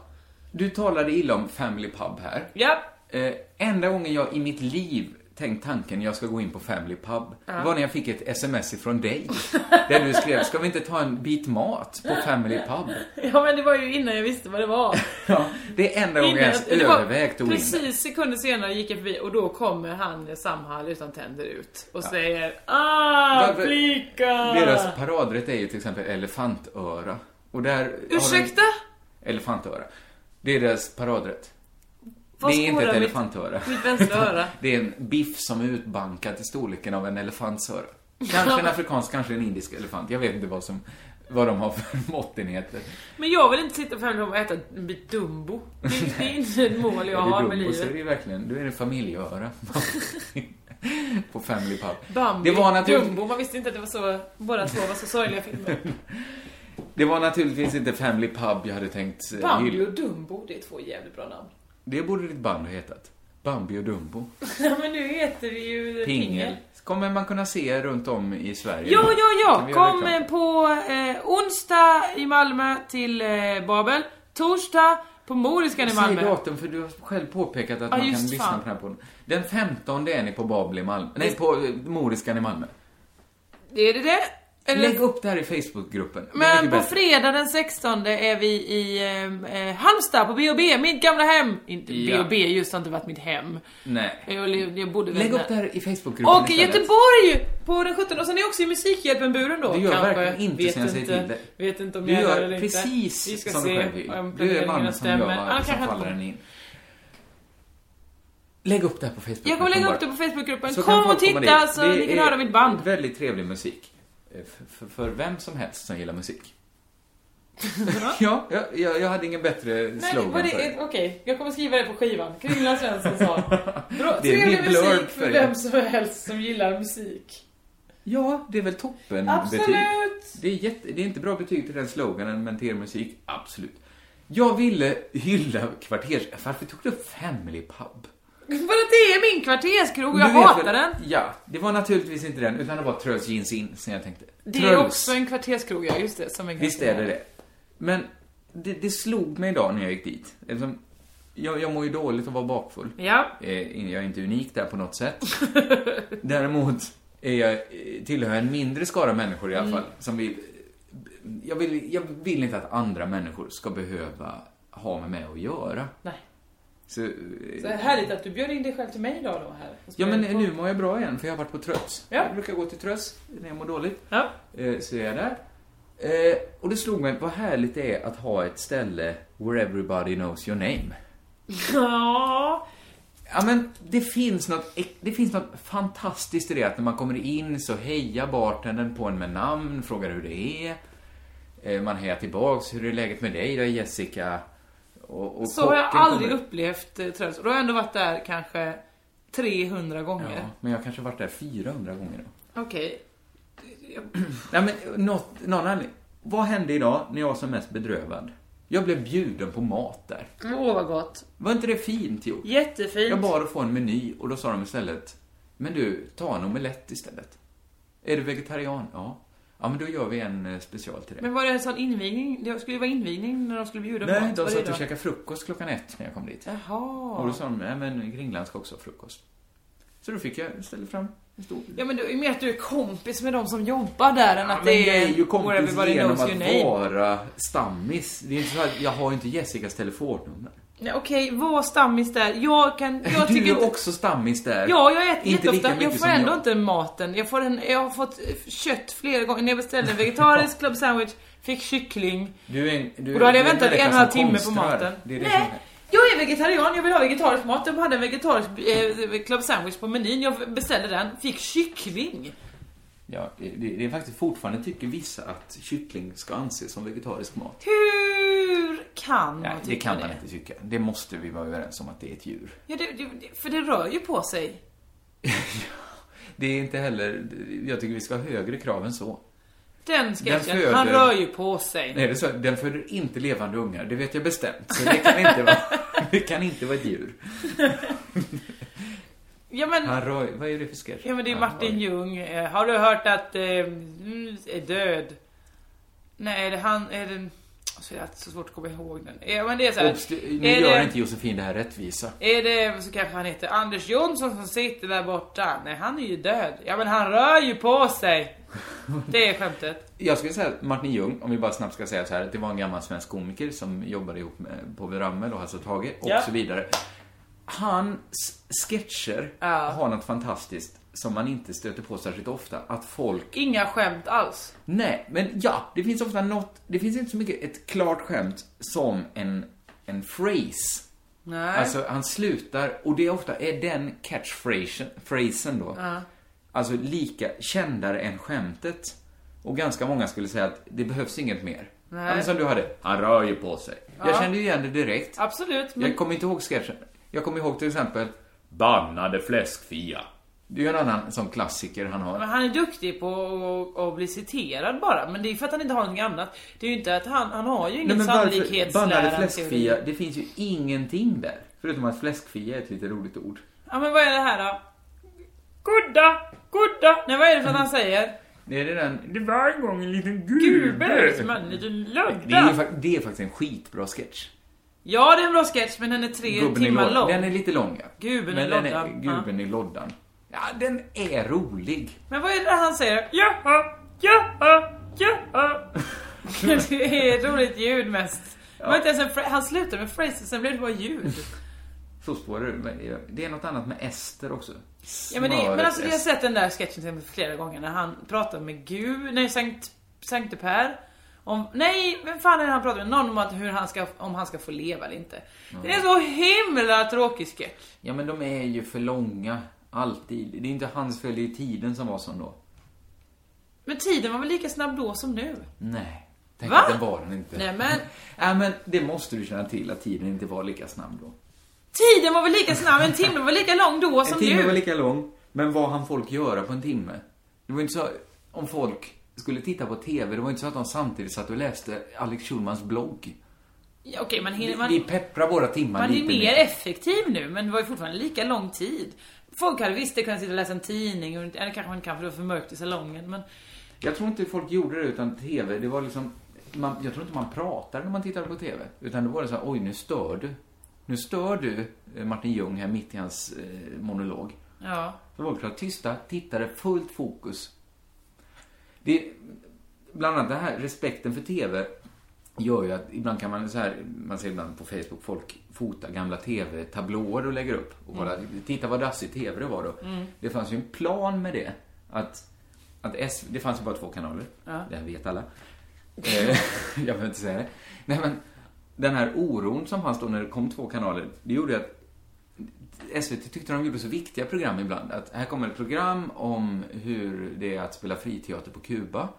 Speaker 9: Du talade illa om Family Pub här.
Speaker 8: Ja.
Speaker 9: Eh, enda gången jag i mitt liv tänkt tanken jag ska gå in på Family Pub
Speaker 8: Ja.
Speaker 9: var när jag fick ett sms ifrån dig. Där du skrev, ska vi inte ta en bit mat på Family Pub?
Speaker 8: Ja, men det var ju innan jag visste vad det var.
Speaker 9: Det är enda gången jag
Speaker 8: Innan
Speaker 9: ens
Speaker 8: jag- det var
Speaker 9: övervägt att gå in.
Speaker 8: Precis sekunder senare gick jag förbi och då kommer han Samhall utan tänder ut och
Speaker 9: Ja.
Speaker 8: säger Ah,
Speaker 9: Varför-
Speaker 8: flicka!
Speaker 9: Deras paradrätt är ju till exempel elefantöra. Och där har de-
Speaker 8: Ursäkta?
Speaker 9: Elefantöra. Det är deras paradrätt.
Speaker 8: Vad
Speaker 9: det är inte
Speaker 8: skålar
Speaker 9: ett
Speaker 8: mitt-
Speaker 9: elefantöra.
Speaker 8: mitt vänstra
Speaker 9: Utan
Speaker 8: öra?
Speaker 9: Det är en biff som är utbankad till storleken av en elefantsöra. Kanske en afrikansk, kanske en indisk elefant. Jag vet inte vad som vad de har för måttenheter.
Speaker 8: Men jag vill inte sitta på Family Home och äta en bit Dumbo. Det, det är inte ett mål jag
Speaker 9: Är det
Speaker 8: har med
Speaker 9: Dumbo så är
Speaker 8: livet.
Speaker 9: det verkligen, då är det familjeöra. På Family Pub.
Speaker 8: Bambi,
Speaker 9: det var naturligt-
Speaker 8: Dumbo, man visste inte att det var så, båda två var så sorgliga filmer.
Speaker 9: Det var naturligtvis inte Family Pub jag hade tänkt eh,
Speaker 8: Bambi
Speaker 9: hylla.
Speaker 8: och Dumbo, det är två jävligt bra namn.
Speaker 9: Det borde ditt band ha hetat. Bambi och Dumbo.
Speaker 8: Ja men nu heter det ju
Speaker 9: Pingel. Kommer man kunna se runt om i Sverige?
Speaker 8: Ja, ja,
Speaker 9: Kan vi
Speaker 8: ja!
Speaker 9: göra
Speaker 8: Kom
Speaker 9: reklam?
Speaker 8: eh, på eh, onsdag i Malmö till eh, Babel. Torsdag på Moriskan i
Speaker 9: Säg
Speaker 8: Malmö.
Speaker 9: datum, för du har själv påpekat att
Speaker 8: Ja,
Speaker 9: man kan
Speaker 8: just
Speaker 9: lyssna
Speaker 8: fan.
Speaker 9: på den här podden. Den 15 är ni på Babel i Malmö. Nej, på eh, Moriskan i Malmö.
Speaker 8: Är det det?
Speaker 9: Lägg
Speaker 8: Eller?
Speaker 9: upp det här i Facebookgruppen. Det är
Speaker 8: Men
Speaker 9: mycket
Speaker 8: på
Speaker 9: bättre.
Speaker 8: fredag den 16 är vi i eh, eh, Halmstad på B&B, mitt gamla hem. Inte
Speaker 9: Ja.
Speaker 8: B&B just har inte varit mitt hem.
Speaker 9: Nej.
Speaker 8: Jag, le- jag bodde väl
Speaker 9: Lägg upp
Speaker 8: där.
Speaker 9: det här i Facebookgruppen
Speaker 8: Och i Göteborg på den 17 och sen är jag också i Musikhjälpen-buren då.
Speaker 9: Du gör
Speaker 8: kanske.
Speaker 9: verkligen inte
Speaker 8: vet
Speaker 9: som jag säger
Speaker 8: inte,
Speaker 9: till dig.
Speaker 8: Vet inte om
Speaker 9: Du
Speaker 8: jag
Speaker 9: gör
Speaker 8: det eller inte.
Speaker 9: precis
Speaker 8: Vi ska
Speaker 9: som
Speaker 8: se
Speaker 9: du själv vill.
Speaker 8: om
Speaker 9: Du är
Speaker 8: planeringarna
Speaker 9: mannen som jag
Speaker 8: stämmer.
Speaker 9: var,
Speaker 8: Ja,
Speaker 9: som
Speaker 8: kanske
Speaker 9: faller
Speaker 8: inte.
Speaker 9: den in. Lägg upp det här på Facebookgruppen
Speaker 8: Jag kommer lägga
Speaker 9: bara.
Speaker 8: upp det på Facebookgruppen.
Speaker 9: Så
Speaker 8: Kom
Speaker 9: kan folk
Speaker 8: och
Speaker 9: komma
Speaker 8: titta
Speaker 9: dit.
Speaker 8: så
Speaker 9: Det
Speaker 8: ni kan
Speaker 9: är
Speaker 8: höra mitt band.
Speaker 9: väldigt trevlig musik. Eh, För, för, för vem som helst som gillar musik. ja, jag, jag, jag hade ingen bättre
Speaker 8: Nej,
Speaker 9: slogan
Speaker 8: vad det-
Speaker 9: för det.
Speaker 8: Okej, jag kommer skriva det på skivan. Kringlan Svensson sa. Bra,
Speaker 9: Det är
Speaker 8: trevlig
Speaker 9: min blurb
Speaker 8: musik
Speaker 9: för
Speaker 8: för
Speaker 9: er.
Speaker 8: vem som helst som gillar musik.
Speaker 9: Ja, det är väl toppen
Speaker 8: Absolut.
Speaker 9: betyg. Det är, jätte, det är inte bra betyg till den sloganen, men till er musik, absolut. Jag ville hylla kvarters... Varför tog du upp Family Pub?
Speaker 8: För att det är min kvarterskrog och jag
Speaker 9: Du vet
Speaker 8: hatar
Speaker 9: väl-
Speaker 8: den.
Speaker 9: Ja, det var naturligtvis inte den, utan det var Tröls Jeans In som jag tänkte.
Speaker 8: Det är
Speaker 9: Tröls.
Speaker 8: också en kvarterskrog, ja just det. Som en
Speaker 9: Visst är det det. Men det, det slog mig idag när jag gick dit. Eftersom jag, jag mår ju dåligt att vara bakfull.
Speaker 8: Ja.
Speaker 9: Eh, Jag är inte unik där på något sätt. Däremot är jag, eh, tillhör en mindre skara människor i alla
Speaker 8: Mm.
Speaker 9: fall, som vill jag, vill... jag vill inte att andra människor ska behöva ha med mig att göra.
Speaker 8: Nej.
Speaker 9: Så, eh,
Speaker 8: Så härligt att du bjöd in dig själv till mig idag då här. Och
Speaker 9: Ja, men
Speaker 8: spelade på-
Speaker 9: nu mår jag bra igen, för jag har varit på Trös.
Speaker 8: Ja.
Speaker 9: Jag brukar gå till Trös när jag mår dåligt.
Speaker 8: Ja.
Speaker 9: Eh, Så är jag där. Eh, Och det slog mig, vad härligt det är att ha ett ställe where everybody knows your name.
Speaker 8: Ja.
Speaker 9: Ja, men det finns något, det finns något fantastiskt i det att när man kommer in så hejar bartendern på en med namn, frågar hur det är. Eh, Man hejar tillbaks, hur är läget med dig då Jessica? Och, och
Speaker 8: Så har jag
Speaker 9: kocken
Speaker 8: aldrig
Speaker 9: kommer-
Speaker 8: upplevt eh, Tröls. Och då har jag ändå varit där kanske 300
Speaker 9: Ja,
Speaker 8: gånger.
Speaker 9: men jag kanske har varit där 400 gånger då.
Speaker 8: Okej.
Speaker 9: Nej men, något, någon anledning. Vad hände idag när jag var som mest bedrövad? Jag blev bjuden på mat där.
Speaker 8: Åh vad gott.
Speaker 9: Var inte det fint gjort?
Speaker 8: Jättefint.
Speaker 9: Jag bad att få en meny och då sa de istället, men du, ta en omelett istället. Är du vegetarian? Ja. Ja, men då gör vi en eh, special till dig.
Speaker 8: Men var det en sån invigning? Det skulle ju vara invigning när de skulle bjuda mat.
Speaker 9: Nej,
Speaker 8: Var
Speaker 9: de
Speaker 8: det
Speaker 9: satt
Speaker 8: då?
Speaker 9: och käkade frukost klockan ett när jag kom dit. Och då
Speaker 8: Jaha.
Speaker 9: sa de, nej men Gringland ska också ha frukost. Så då fick jag ställa fram en stor
Speaker 8: Ja men det är mer att du är kompis med de som jobbar där än att
Speaker 9: Men
Speaker 8: det
Speaker 9: jag är ju
Speaker 8: where
Speaker 9: kompis
Speaker 8: everybody
Speaker 9: genom
Speaker 8: knows your
Speaker 9: att
Speaker 8: name.
Speaker 9: vara stammis. Det är inte så att jag har ju inte Jessicas telefonnummer.
Speaker 8: Nej, Okej, var stammis där. Jag kan... Jag
Speaker 9: du är
Speaker 8: tycker inte...
Speaker 9: också stammis där.
Speaker 8: Ja, jag äter
Speaker 9: Inte lika
Speaker 8: jätteofta.
Speaker 9: mycket
Speaker 8: Jag får
Speaker 9: som
Speaker 8: ändå
Speaker 9: jag.
Speaker 8: inte maten. Jag, får en, jag har fått kött flera gånger. När jag beställde en vegetarisk club sandwich, fick kyckling.
Speaker 9: Du är en, du,
Speaker 8: och då hade jag
Speaker 9: du är
Speaker 8: väntat en och en
Speaker 9: människa
Speaker 8: halv
Speaker 9: som
Speaker 8: timme på
Speaker 9: konstnär.
Speaker 8: maten.
Speaker 9: Det är det som
Speaker 8: Nej, jag är vegetarian. Jag vill ha vegetarisk mat. De hade en vegetarisk eh, club sandwich på menyn. Jag beställde den. Fick kyckling.
Speaker 9: Ja, det, det det är faktiskt fortfarande tycker vissa att kyckling ska anses som vegetarisk mat.
Speaker 8: Hur kan
Speaker 9: Nej,
Speaker 8: man
Speaker 9: det
Speaker 8: tycka
Speaker 9: kan man inte tycka. Det måste vi vara överens om att det är ett djur.
Speaker 8: Ja, det, det, för det rör ju på sig.
Speaker 9: Det är inte heller... Jag tycker vi ska ha högre krav än så.
Speaker 8: Den sketchen,
Speaker 9: föder-
Speaker 8: han rör ju på sig.
Speaker 9: Nej, det är så, den föder inte levande ungar, det vet jag bestämt. Så det kan inte vara, det kan inte vara ett djur.
Speaker 8: Ja, men,
Speaker 9: Han rör, vad är det för sketch?
Speaker 8: ja, men det är
Speaker 9: Han
Speaker 8: Martin Ljung. Eh, Har du hört att eh, mus är död? Nej, är det han... Är det... Alltså, det är alltid så svårt att komma ihåg den. Ja, men det är så här,
Speaker 9: Obst- nu
Speaker 8: är
Speaker 9: gör
Speaker 8: det-
Speaker 9: inte Josefin det här rättvisa.
Speaker 8: Är det, så kanske han heter, Anders Jonsson som sitter där borta? Nej, han är ju död. Ja, men han rör ju på sig. Det är skämtet.
Speaker 9: Jag skulle säga att Martin Ljung, om vi bara snabbt ska säga så här, att det var en gammal svensk komiker som jobbade ihop med Povel Ramel och Hasse och Tage och
Speaker 8: Ja.
Speaker 9: så vidare. Hans sketcher har något fantastiskt som man inte stöter på särskilt ofta. Att folk
Speaker 8: Inga skämt alls.
Speaker 9: Nej, men ja, det finns ofta något, det finns inte så mycket ett klart skämt som en, en phrase.
Speaker 8: Nej.
Speaker 9: Alltså, han slutar, och det är ofta är den catchphrasen phrasen då.
Speaker 8: Ja.
Speaker 9: Alltså, lika kändare än skämtet. Och ganska många skulle säga att det behövs inget mer.
Speaker 8: Nej.
Speaker 9: Ja, men Som du hade, han rör ju på sig. Jag
Speaker 8: Ja.
Speaker 9: kände ju igen det direkt.
Speaker 8: Absolut, men
Speaker 9: Jag kommer inte ihåg sketchen. Jag kommer ihåg till exempel, bannade fläskfia. Det är ju en annan sån klassiker han har.
Speaker 8: Men han är duktig på att- att bli citerad bara, men det är för att han inte har någonting annat. Det är ju inte att han, han har ju ingen
Speaker 9: bannade
Speaker 8: sannolikhetslärarteori.
Speaker 9: fläskfia? Det finns ju ingenting där. Förutom att fläskfia är ett lite roligt ord.
Speaker 8: Ja men vad är det här då? Gudda, gudda. Nej vad är det för att han säger?
Speaker 9: Det är det den... Det var en gång en liten gube.
Speaker 8: Gube som en liten
Speaker 9: Det är, ju,
Speaker 8: lugga.
Speaker 9: fak- det är faktiskt en skitbra sketch.
Speaker 8: Ja det är en bra sketch men den är tre
Speaker 9: Gubben i
Speaker 8: timmar
Speaker 9: lådan.
Speaker 8: lång.
Speaker 9: Den är lite lång, ja.
Speaker 8: Guben i
Speaker 9: Men den är,
Speaker 8: lådan,
Speaker 9: guben i lådan. Ja, den är rolig.
Speaker 8: Men vad är det han säger? Jaha, jaha, jaha. det är ett roligt ljud mest. Det var inte ens en fra- han slutade med phrases, sen blev det bara ljud.
Speaker 9: Så spårar du. men Det är något annat med ester också.
Speaker 8: Ja, men, det, men
Speaker 9: Smöret
Speaker 8: alltså, jag har
Speaker 9: ester.
Speaker 8: sett den där sketchen till exempel flera gånger när han pratar med Gud, nej Sankt, Sankte Per. Om, nej, vem fan är det han pratar med? Någon om att hur han ska, om han ska få leva eller inte. Det är
Speaker 9: Mm.
Speaker 8: en så himla tråkig sketch.
Speaker 9: Ja, men de är ju för långa. Alltid. Det är inte hans fel, det är tiden som var sån då.
Speaker 8: Men tiden var väl lika snabb då som nu?
Speaker 9: Nej. Tänk
Speaker 8: Va?
Speaker 9: att den var den inte.
Speaker 8: Nej men,
Speaker 9: Ja, men det måste du känna till, att tiden inte var lika snabb då.
Speaker 8: tiden var väl lika snabb, en timme var lika lång då som
Speaker 9: en timme
Speaker 8: nu?
Speaker 9: var lika lång, men vad han folk göra på en timme? Det var inte så, om folk skulle titta på TV, det var inte så att de samtidigt satt och läste Alex Schulmans blogg.
Speaker 8: Ja, Okej, man hinner...
Speaker 9: Vi
Speaker 8: Man,
Speaker 9: pepprar våra timmar
Speaker 8: man är
Speaker 9: lite
Speaker 8: mer effektiv nu, men det var ju fortfarande lika lång tid. Folk hade visst kunnat sitta och läsa en tidning, och- eller kanske man kan för det var för mörkt i salongen, men...
Speaker 9: Jag tror inte folk gjorde det utan TV, det var liksom, man, jag tror inte man pratade när man tittade på TV. Utan det var det så här, oj nu stör du. Nu stör du eh, Martin Ljung här mitt i hans eh, monolog.
Speaker 8: Ja.
Speaker 9: Så folk var tysta, tittade, fullt fokus. Det, bland annat det här, respekten för TV gör ju att ibland kan man så här, man ser ibland på Facebook folk fota gamla TV-tablåer och lägger upp. Och bara, titta vad dassig TV det var då. Det fanns ju en plan med det. Att, att S, det fanns ju bara två kanaler. Det här vet alla. Eh, jag behöver inte säga det. Nej men, den här oron som fanns då när det kom två kanaler, det gjorde ju att SVT tyckte de gjorde så viktiga program ibland. Att här kommer ett program om hur det är att spela friteater på Kuba.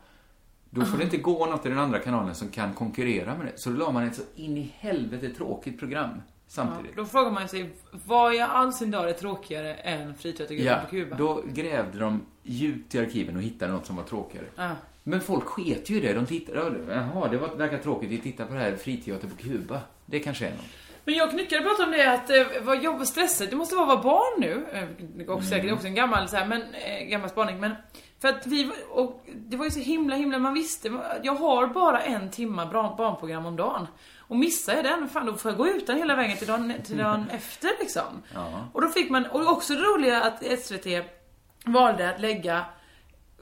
Speaker 9: Då får det inte gå något i den andra kanalen som kan konkurrera med det. Så då la man ett så in i helvete tråkigt program samtidigt.
Speaker 8: Då frågar man sig, var jag all sin dag är tråkigare än friteatergruppen
Speaker 9: Ja,
Speaker 8: på Kuba?
Speaker 9: då grävde de djupt i arkiven och hittade något som var tråkigare.
Speaker 8: Ja.
Speaker 9: Men folk sket ju i det. De tittade, ja, det- jaha, det var, verkar tråkigt. Vi tittar på det här friteater på Kuba. Det kanske är något.
Speaker 8: Men jag och Knyckare pratade om det att eh, vad jobb och stressigt, det måste vara att vara barn nu. Eh, det är också
Speaker 9: Mm.
Speaker 8: säkert också en gammal, så här, men, eh, gammal spaning. Men för att vi, var- och det var ju så himla himla, man visste, jag har bara en timma bra barnprogram om dagen. Och missar jag den, fan då får jag gå utan hela vägen till dagen, till dagen efter liksom. Och då fick man, och också det roliga att SVT valde att lägga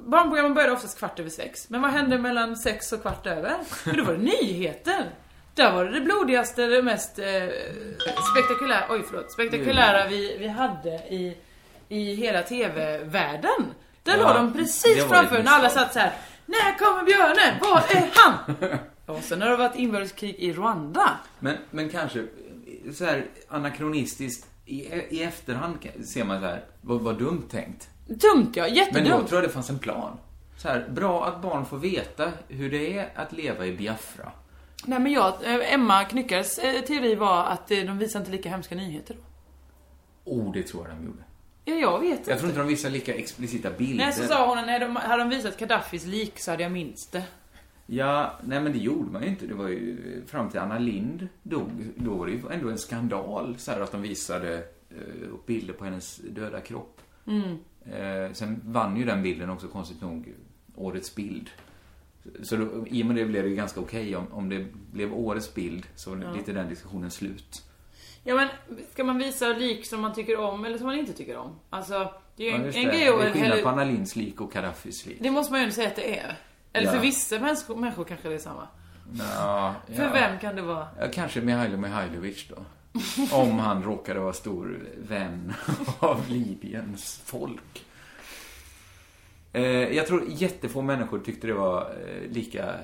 Speaker 8: Barnprogrammen började oftast kvart över sex, men vad hände mellan sex och kvart över? För då var det nyheter! Där var det det blodigaste, det mest eh, spektakulära, oj förlåt, spektakulära vi, vi hade i, i hela TV-världen. Där
Speaker 12: Ja,
Speaker 8: la de
Speaker 12: det
Speaker 8: precis
Speaker 12: var
Speaker 8: framför
Speaker 12: ett
Speaker 8: när alla satt så här. När kommer björnen? Var är han? Ja, sen har det varit inbördeskrig i Rwanda.
Speaker 9: Men, men kanske så här anakronistiskt i, e- i efterhand ka- ser man så här, vad, vad dumt tänkt.
Speaker 8: Dumt ja,
Speaker 9: Men
Speaker 8: jättedumt.
Speaker 9: då tror jag det fanns en plan. Så här, bra att barn får veta hur det är att leva i Biafra.
Speaker 8: Nej men jag, eh, Emma Knyckares eh, teori var att eh, de visar inte lika hemska nyheter då.
Speaker 9: Oh, det tror jag de gjorde.
Speaker 8: Ja, jag vet
Speaker 9: Jag tror inte de visar lika explicita bilder.
Speaker 8: Nej, så sa hon att nej, de, hade de visat Gaddafis lik så hade jag minst det.
Speaker 9: Ja, nej men det gjorde man ju inte. Det var ju fram till Anna Lind dog. Då var det ju ändå en skandal så här att de visade eh, upp bilder på hennes döda kropp.
Speaker 8: Mm.
Speaker 9: Eh, sen vann ju den bilden också konstigt nog årets bild. Så då, i och med det blev det ju ganska okej. Om, om det blev årets bild så var det
Speaker 8: Ja.
Speaker 9: lite den diskussionen slut.
Speaker 8: Ja men, ska man visa lik som man tycker om eller som man inte tycker om? Alltså, det är ju
Speaker 9: Ja,
Speaker 8: en,
Speaker 9: just
Speaker 8: en
Speaker 9: det.
Speaker 8: grej
Speaker 9: det är
Speaker 8: att
Speaker 9: skillnad på
Speaker 8: hälla
Speaker 9: Anna Linds lik och Gaddafis lik.
Speaker 8: Det måste man ju ändå säga att det är. Eller
Speaker 9: Ja.
Speaker 8: för vissa människor, människor kanske det är samma.
Speaker 9: Ja,
Speaker 8: För
Speaker 9: ja.
Speaker 8: vem kan det vara?
Speaker 9: Ja, kanske Mihailo Mihailovic då. Om han råkade vara stor vän av Libyens folk. Eh, jag tror jättefå människor tyckte det var eh, lika,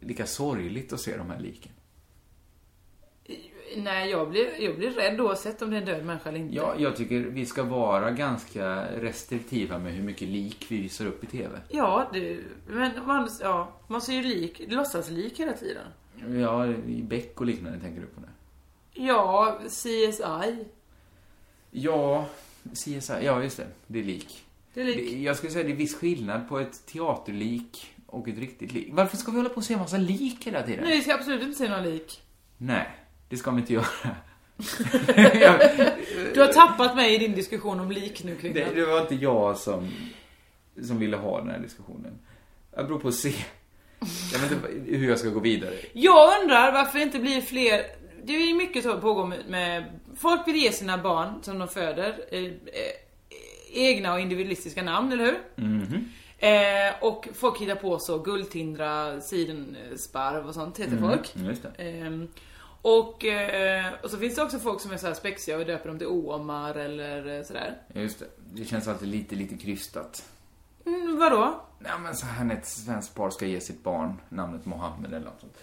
Speaker 9: lika sorgligt att se de här liken.
Speaker 8: Nej, jag blir, jag blir rädd oavsett om det är en död människa eller inte.
Speaker 9: Ja, jag tycker vi ska vara ganska restriktiva med hur mycket lik vi visar upp i TV.
Speaker 8: Ja, det, men man, ja, man ser ju lik, låtsas lik hela tiden.
Speaker 9: Ja, i Beck och liknande tänker du på det.
Speaker 8: Ja, CSI.
Speaker 9: Ja, CSI. Ja, just det. Det är lik.
Speaker 8: Det är lik.
Speaker 9: jag skulle säga det är viss skillnad på ett teaterlik och ett riktigt lik. Varför ska vi hålla på och se en massa lik hela tiden?
Speaker 8: Nej, vi ska absolut inte se någon lik.
Speaker 9: Nej, det ska vi inte göra.
Speaker 8: Du har tappat mig i din diskussion om lik nu Klingman.
Speaker 9: Det, det var inte jag som, som ville ha den här diskussionen. Jag beror på att se. Jag vet inte hur jag ska gå vidare.
Speaker 8: Jag undrar varför det inte blir fler Det är ju mycket som pågår med, med Folk vill ge sina barn som de föder eh, eh, Egna och individualistiska namn, eller hur?
Speaker 9: Mhm.
Speaker 8: Eh, och folk hittar på så guldtindra, sidensparv och sånt heter
Speaker 9: Mm,
Speaker 8: folk.
Speaker 9: just det.
Speaker 8: Ehm, och, eh, och så finns det också folk som är så här spexiga och döper dem till Omar eller eh, sådär.
Speaker 9: Ja, Just det. Det känns alltid lite, lite krystat.
Speaker 8: Mm, vadå?
Speaker 9: Nej men så här när ett svenskt par ska ge sitt barn namnet Mohammed eller något sånt.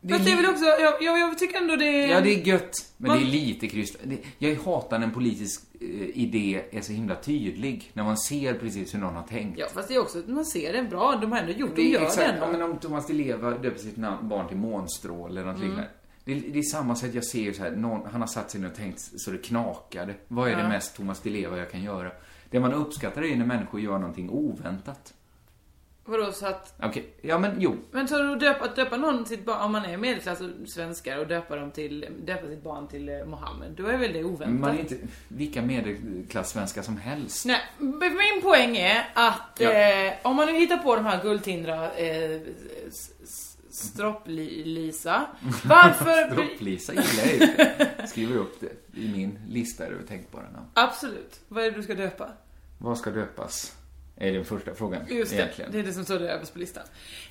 Speaker 8: Det Fast det är väl också, jag, jag, jag tycker ändå det är...
Speaker 9: Ja, det är gött, men
Speaker 8: Man-
Speaker 9: det är lite krystat. Det- Jag hatar när en politisk eh, idé är så himla tydlig, när man ser precis hur någon har tänkt.
Speaker 8: Ja fast det är också, man ser det bra, de har ändå gjort,
Speaker 9: Det
Speaker 8: de
Speaker 9: är
Speaker 8: gör det
Speaker 9: exakt,
Speaker 8: ändå.
Speaker 9: ja, men om Thomas Di Leva döper sitt namn, barn till Månstråle eller något
Speaker 8: Mm.
Speaker 9: liknande. Det, är- det är samma sätt jag ser så här, någon, han har satt sig ner och tänkt så det knakade. Vad är det
Speaker 8: Ja.
Speaker 9: mest Thomas Di Leva jag kan göra? Det man uppskattar är ju när människor gör någonting oväntat.
Speaker 8: Vadå så att
Speaker 9: Okej, ja men jo.
Speaker 8: Men tror du att döpa, att döpa någon sitt barn, om man är medelklass och svenskar och döpa, dem till, döpa sitt barn till eh, Mohammed, då är väl det oväntat?
Speaker 9: Man är inte vilka medelklassvenskar som helst.
Speaker 8: Nej, men min poäng är att
Speaker 9: Ja.
Speaker 8: eh, om man nu hittar på de här guldtindra eh, s- s- Stropp-Lisa. Varför...
Speaker 9: Strupplisa gillar jag ju. Skriver upp det i min lista över tänkbara namn.
Speaker 8: Absolut. Vad är det du ska döpa?
Speaker 9: Vad ska döpas? Är den första frågan
Speaker 8: Just det,
Speaker 9: egentligen.
Speaker 8: det är det som står där överst på listan.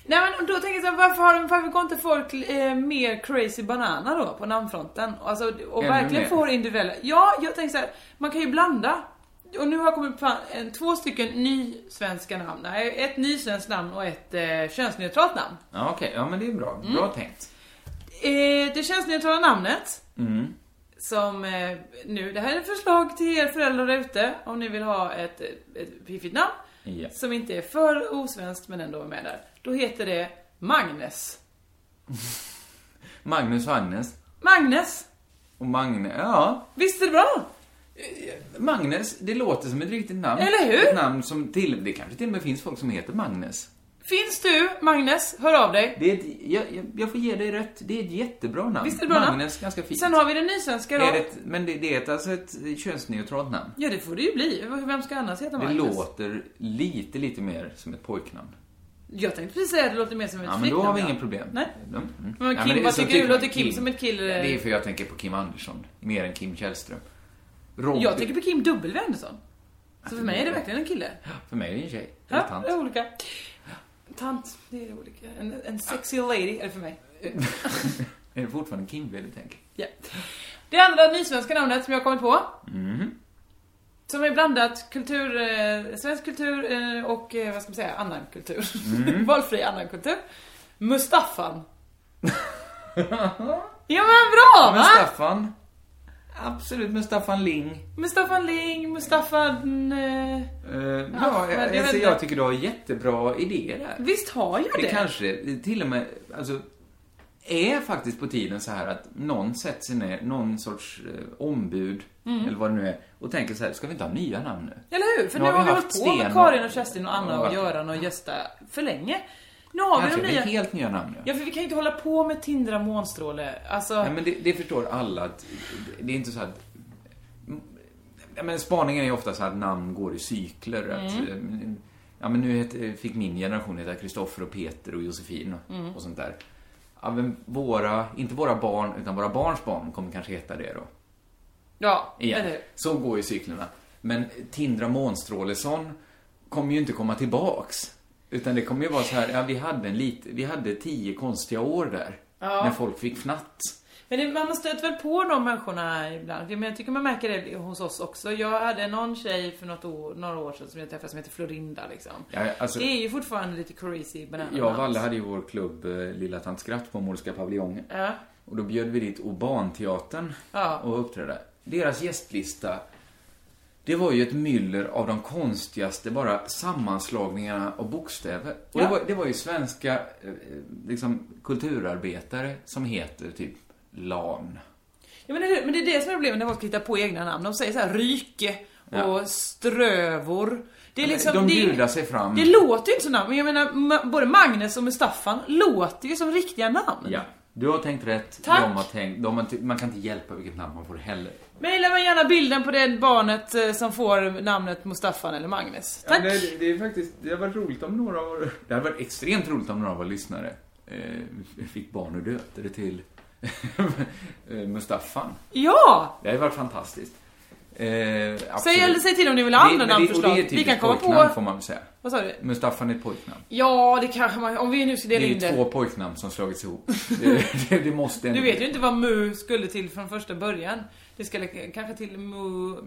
Speaker 8: Nej men då tänker jag så här, varför, har de, varför går inte folk eh, mer crazy banana då på namnfronten? Alltså, och
Speaker 12: Ännu
Speaker 8: verkligen
Speaker 12: mer.
Speaker 8: får individuella. Ja, jag tänker så här, man kan ju blanda. Och nu har kommit fram en, två stycken nysvenska namn. Nej, ett nysvenskt namn och ett eh, könsneutralt namn.
Speaker 9: Ja, okej. Ja, men det är bra.
Speaker 8: Mm.
Speaker 9: Bra tänkt.
Speaker 8: Eh, det könsneutrala namnet
Speaker 9: Mm.
Speaker 8: som eh, nu, det här är förslag till er föräldrar där ute om ni vill ha ett, ett piffigt namn.
Speaker 9: Ja.
Speaker 8: Som inte är för osvenskt men ändå är med där. Då heter det Magnes.
Speaker 9: Magnus och Agnes.
Speaker 8: Magnes!
Speaker 9: Och Magne, ja.
Speaker 8: Visst är det bra?
Speaker 9: Magnus, det låter som ett riktigt namn.
Speaker 8: Eller hur?
Speaker 9: Ett namn som till, det kanske till och med finns folk som heter Magnus.
Speaker 8: Finns du, Magnes, hör av dig.
Speaker 9: Det är ett, jag, jag, jag får ge dig rätt, det är ett jättebra namn.
Speaker 8: Visst är det bra namn?
Speaker 9: Magnus, ganska fint.
Speaker 8: Sen har vi det nysvenska då.
Speaker 9: är det ett, men det, det är ett, alltså ett könsneutralt namn.
Speaker 8: Ja, det får det ju bli. Vem ska annars heta
Speaker 9: Det
Speaker 8: Magnus?
Speaker 9: låter lite, lite mer som ett pojknamn.
Speaker 8: Jag tänkte precis säga att det låter mer som ett
Speaker 9: Ja, men
Speaker 8: flicknamn,
Speaker 9: då har vi
Speaker 8: ja.
Speaker 9: inget problem.
Speaker 8: Nej.
Speaker 9: Mm. Mm.
Speaker 8: Men
Speaker 9: Ja,
Speaker 8: Kim,
Speaker 9: det-
Speaker 8: vad
Speaker 9: så
Speaker 8: tycker du? Låter Kim som ett kill-
Speaker 9: Ja, Det är för jag tänker på Kim Andersson, mer än Kim Källström. Robin,
Speaker 8: Jag tänker på Kim W Andersson. Så för mig är det verkligen en kille.
Speaker 9: För mig är det en tjej, eller
Speaker 8: Ja,
Speaker 9: tant.
Speaker 8: det är olika. Tant, det är olika. En, en sexy lady är det för mig.
Speaker 9: Är det fortfarande Kindred du tänker?
Speaker 8: Ja. Det andra nysvenska namnet som jag kommit på,
Speaker 9: Mhm.
Speaker 8: som är blandat kultur, eh, svensk kultur eh, och eh, vad ska man säga, annan kultur.
Speaker 9: Mm.
Speaker 8: Valfri annan kultur. Mustafan. ja men bra
Speaker 9: Men
Speaker 8: va?
Speaker 9: Staffan. Absolut, men Staffan Ling.
Speaker 8: Mustafan Ling, Mustafan... Eh,
Speaker 9: Eh,
Speaker 8: Ja,
Speaker 9: ja,
Speaker 8: men
Speaker 9: jag,
Speaker 8: det är
Speaker 9: alltså,
Speaker 8: väl-
Speaker 9: jag tycker du har jättebra idéer där.
Speaker 8: visst har jag det?
Speaker 9: Det kanske till och med, alltså, är faktiskt på tiden så här att någon sätter sig ner, någon sorts eh, ombud, eller vad det nu är, och tänker så här, ska vi inte ha nya namn nu?
Speaker 8: Mm. Eller hur? För
Speaker 9: Nu
Speaker 8: nu,
Speaker 9: har
Speaker 8: har
Speaker 9: vi
Speaker 8: vi
Speaker 9: haft
Speaker 8: hållit på
Speaker 9: Sten och-
Speaker 8: med Karin och Kerstin och Anna
Speaker 9: och-
Speaker 8: och Göran och Gösta för länge. Nu har vi
Speaker 9: Kanske
Speaker 8: de
Speaker 9: det
Speaker 8: nya...
Speaker 9: är helt nya namn nu.
Speaker 8: Ja för vi kan ju inte hålla på med Tindra Månstråle. Alltså...
Speaker 9: Nej, men det, det förstår alla att, det är inte så att Ja, men spaningen är ju ofta så här att namn går i cykler. Att,
Speaker 8: Mm.
Speaker 9: eh, ja, men nu heter, fick min generation heta Kristoffer och Peter och Josefin och,
Speaker 8: Mm.
Speaker 9: och sånt där. Ja, men våra, inte våra barn, utan våra barns barn kommer kanske heta det då.
Speaker 8: Ja,
Speaker 9: igen.
Speaker 8: eller hur?
Speaker 9: Så går ju cyklerna. Men Tindra Månstrålesson kommer ju inte komma tillbaks. Utan det kommer ju vara så här, ja, vi hade en lit, vi hade tio konstiga år där. När folk fick fnatt.
Speaker 8: Men det, man stöter väl på de människorna ibland. Men jag tycker man märker det hos oss också. Jag hade någon tjej för något år, några år sedan som jag träffade som heter Florinda liksom.
Speaker 9: Ja, alltså-
Speaker 8: det är ju fortfarande lite crazy banana
Speaker 9: Jag och Valle
Speaker 8: nuts.
Speaker 9: hade ju vår klubb eh, Lilla Tant Skratt på Morska paviljongen.
Speaker 8: Ja.
Speaker 9: Och då bjöd vi dit Obanteatern
Speaker 8: Ja.
Speaker 9: och uppträdde. Deras gästlista, det var ju ett myller av de konstigaste bara sammanslagningarna av bokstäver. Och det,
Speaker 8: Ja.
Speaker 9: var, det var ju svenska eh, liksom, kulturarbetare som heter typ LAN.
Speaker 8: Ja, men, det, men det är det som är problemet när folk hittar på egna namn. De säger så här ryke och
Speaker 9: Ja.
Speaker 8: strövor. Det är
Speaker 9: men
Speaker 8: liksom,
Speaker 9: de
Speaker 8: det, är-
Speaker 9: bjuder sig fram.
Speaker 8: Det låter ju inte så namn, men jag menar ma- både Magnus och Mustaffan låter ju som riktiga namn.
Speaker 9: Ja, du har tänkt rätt.
Speaker 8: Tack.
Speaker 9: De har tänkt, de har, ty- man kan inte hjälpa vilket namn man får heller.
Speaker 8: Maila mig gärna bilden på det barnet eh, som får namnet Mustaffan eller Magnus. Tack!
Speaker 9: Ja, det, det är faktiskt, det hade varit roligt om några av våra... Det hade varit extremt roligt om några av våra lyssnare eh, fick barn och döpte det till eh, Mustafan.
Speaker 8: ja.
Speaker 9: Det hade varit fantastiskt. Eh,
Speaker 8: Säg,
Speaker 9: absolut.
Speaker 8: eller säg till om ni vill
Speaker 9: Det-
Speaker 8: ha andra
Speaker 9: men det-
Speaker 8: namnförslag.
Speaker 9: och det är ett
Speaker 8: Vi kan
Speaker 9: typiskt
Speaker 8: komma
Speaker 9: pojknamn,
Speaker 8: på...
Speaker 9: får man väl säga.
Speaker 8: Vad sa du?
Speaker 9: Mustafan är ett pojknamn.
Speaker 8: Ja, det kanske man... Om vi nu ska
Speaker 9: Det
Speaker 8: dela
Speaker 9: är ju
Speaker 8: in
Speaker 9: två
Speaker 8: det.
Speaker 9: pojknamn som slagits ihop. det, det, det måste ändå
Speaker 8: Du vet
Speaker 9: bli.
Speaker 8: ju inte vad mu skulle till från första början. Det skulle k- kanske till mu... mu-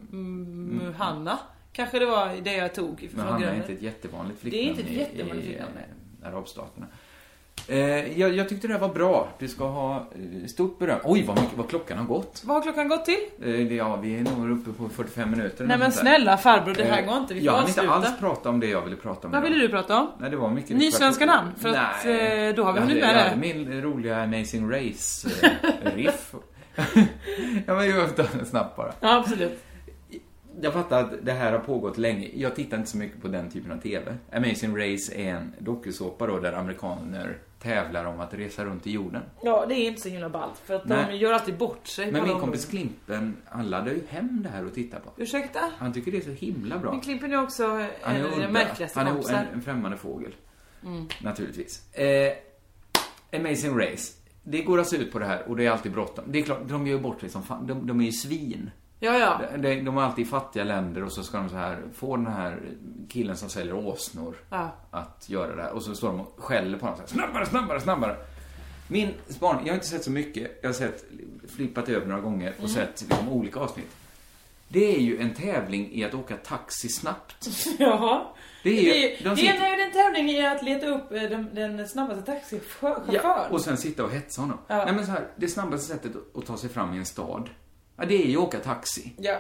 Speaker 8: Muhanna. Kanske det var det jag tog
Speaker 9: Men
Speaker 8: från
Speaker 9: han Mm. är
Speaker 8: grannen.
Speaker 9: inte ett jättevanligt
Speaker 8: Det är
Speaker 9: flicknamn
Speaker 8: inte ett jättevanligt
Speaker 9: i, i,
Speaker 8: flicknamn,
Speaker 9: eh, arabstaterna. Eh, jag, jag tyckte det här var bra. Du ska ha eh, stort beröm. Oj, vad, mycket, vad klockan har gått.
Speaker 8: Vad har klockan gått till?
Speaker 9: Eh, Ja, vi är nog uppe på 45 minuter.
Speaker 8: Nej men snälla farbror, det här går inte. Vi får
Speaker 9: Eh, Jag hann inte
Speaker 8: avsluta.
Speaker 9: alls prata om det jag ville prata om
Speaker 8: Vad
Speaker 9: idag.
Speaker 8: ville du prata om?
Speaker 9: Nej, det var mycket...
Speaker 8: Nysvenska namn, för att, eh, då har vi
Speaker 9: Jag
Speaker 8: hunnit
Speaker 9: hade-
Speaker 8: med
Speaker 9: Jag hade
Speaker 8: det.
Speaker 9: min roliga Amazing Race-riff. ja, men jag tar det snabbt bara.
Speaker 8: Ja, absolut.
Speaker 9: Jag fattar att det här har pågått länge. Jag tittar inte så mycket på den typen av TV. Amazing Race är en dokusåpa då, där amerikaner tävlar om att resa runt i jorden.
Speaker 8: Ja, det är inte så himla ballt. För att de
Speaker 9: Nej.
Speaker 8: gör alltid bort sig. på
Speaker 9: Men
Speaker 8: alla
Speaker 9: min kompis
Speaker 8: områden.
Speaker 9: Klimpen, han laddar ju hem det här och tittar på.
Speaker 8: Ursäkta?
Speaker 9: Han tycker det är så himla bra.
Speaker 8: Min Klimpen är också en
Speaker 9: Han
Speaker 8: av
Speaker 9: är
Speaker 8: mina
Speaker 9: udda.
Speaker 8: märkligaste
Speaker 9: Han är
Speaker 8: kompisar. Mm.
Speaker 9: en, en främmande fågel. Naturligtvis. Eh, Amazing Race. Det går alltså ut på det här och det är alltid bråttom. Det är klart, de gör ju bort sig som fan. De, de är ju svin.
Speaker 8: Ja, ja.
Speaker 9: De, de, de är alltid i fattiga länder och så ska de så här få den här killen som säljer åsnor
Speaker 8: Ja.
Speaker 9: att göra det här. Och så står de och skäller på honom så här, snabbare, snabbare, snabbare. Min spaning, jag har inte sett så mycket. Jag har sett, flippat över några gånger
Speaker 8: Mm.
Speaker 9: och sett liksom, olika avsnitt. Det är ju en tävling i att åka taxi snabbt.
Speaker 8: Jaha.
Speaker 9: Det är ju-
Speaker 8: det, är,
Speaker 9: de
Speaker 8: det
Speaker 9: sitter-
Speaker 8: är en, en tävling i att leta upp eh, den, den snabbaste taxichauffören.
Speaker 9: Ja, och sen sitta och hetsa honom.
Speaker 8: Ja.
Speaker 9: Nej, men så här, det snabbaste sättet att ta sig fram i en stad, ja, det är ju att åka taxi.
Speaker 8: Ja.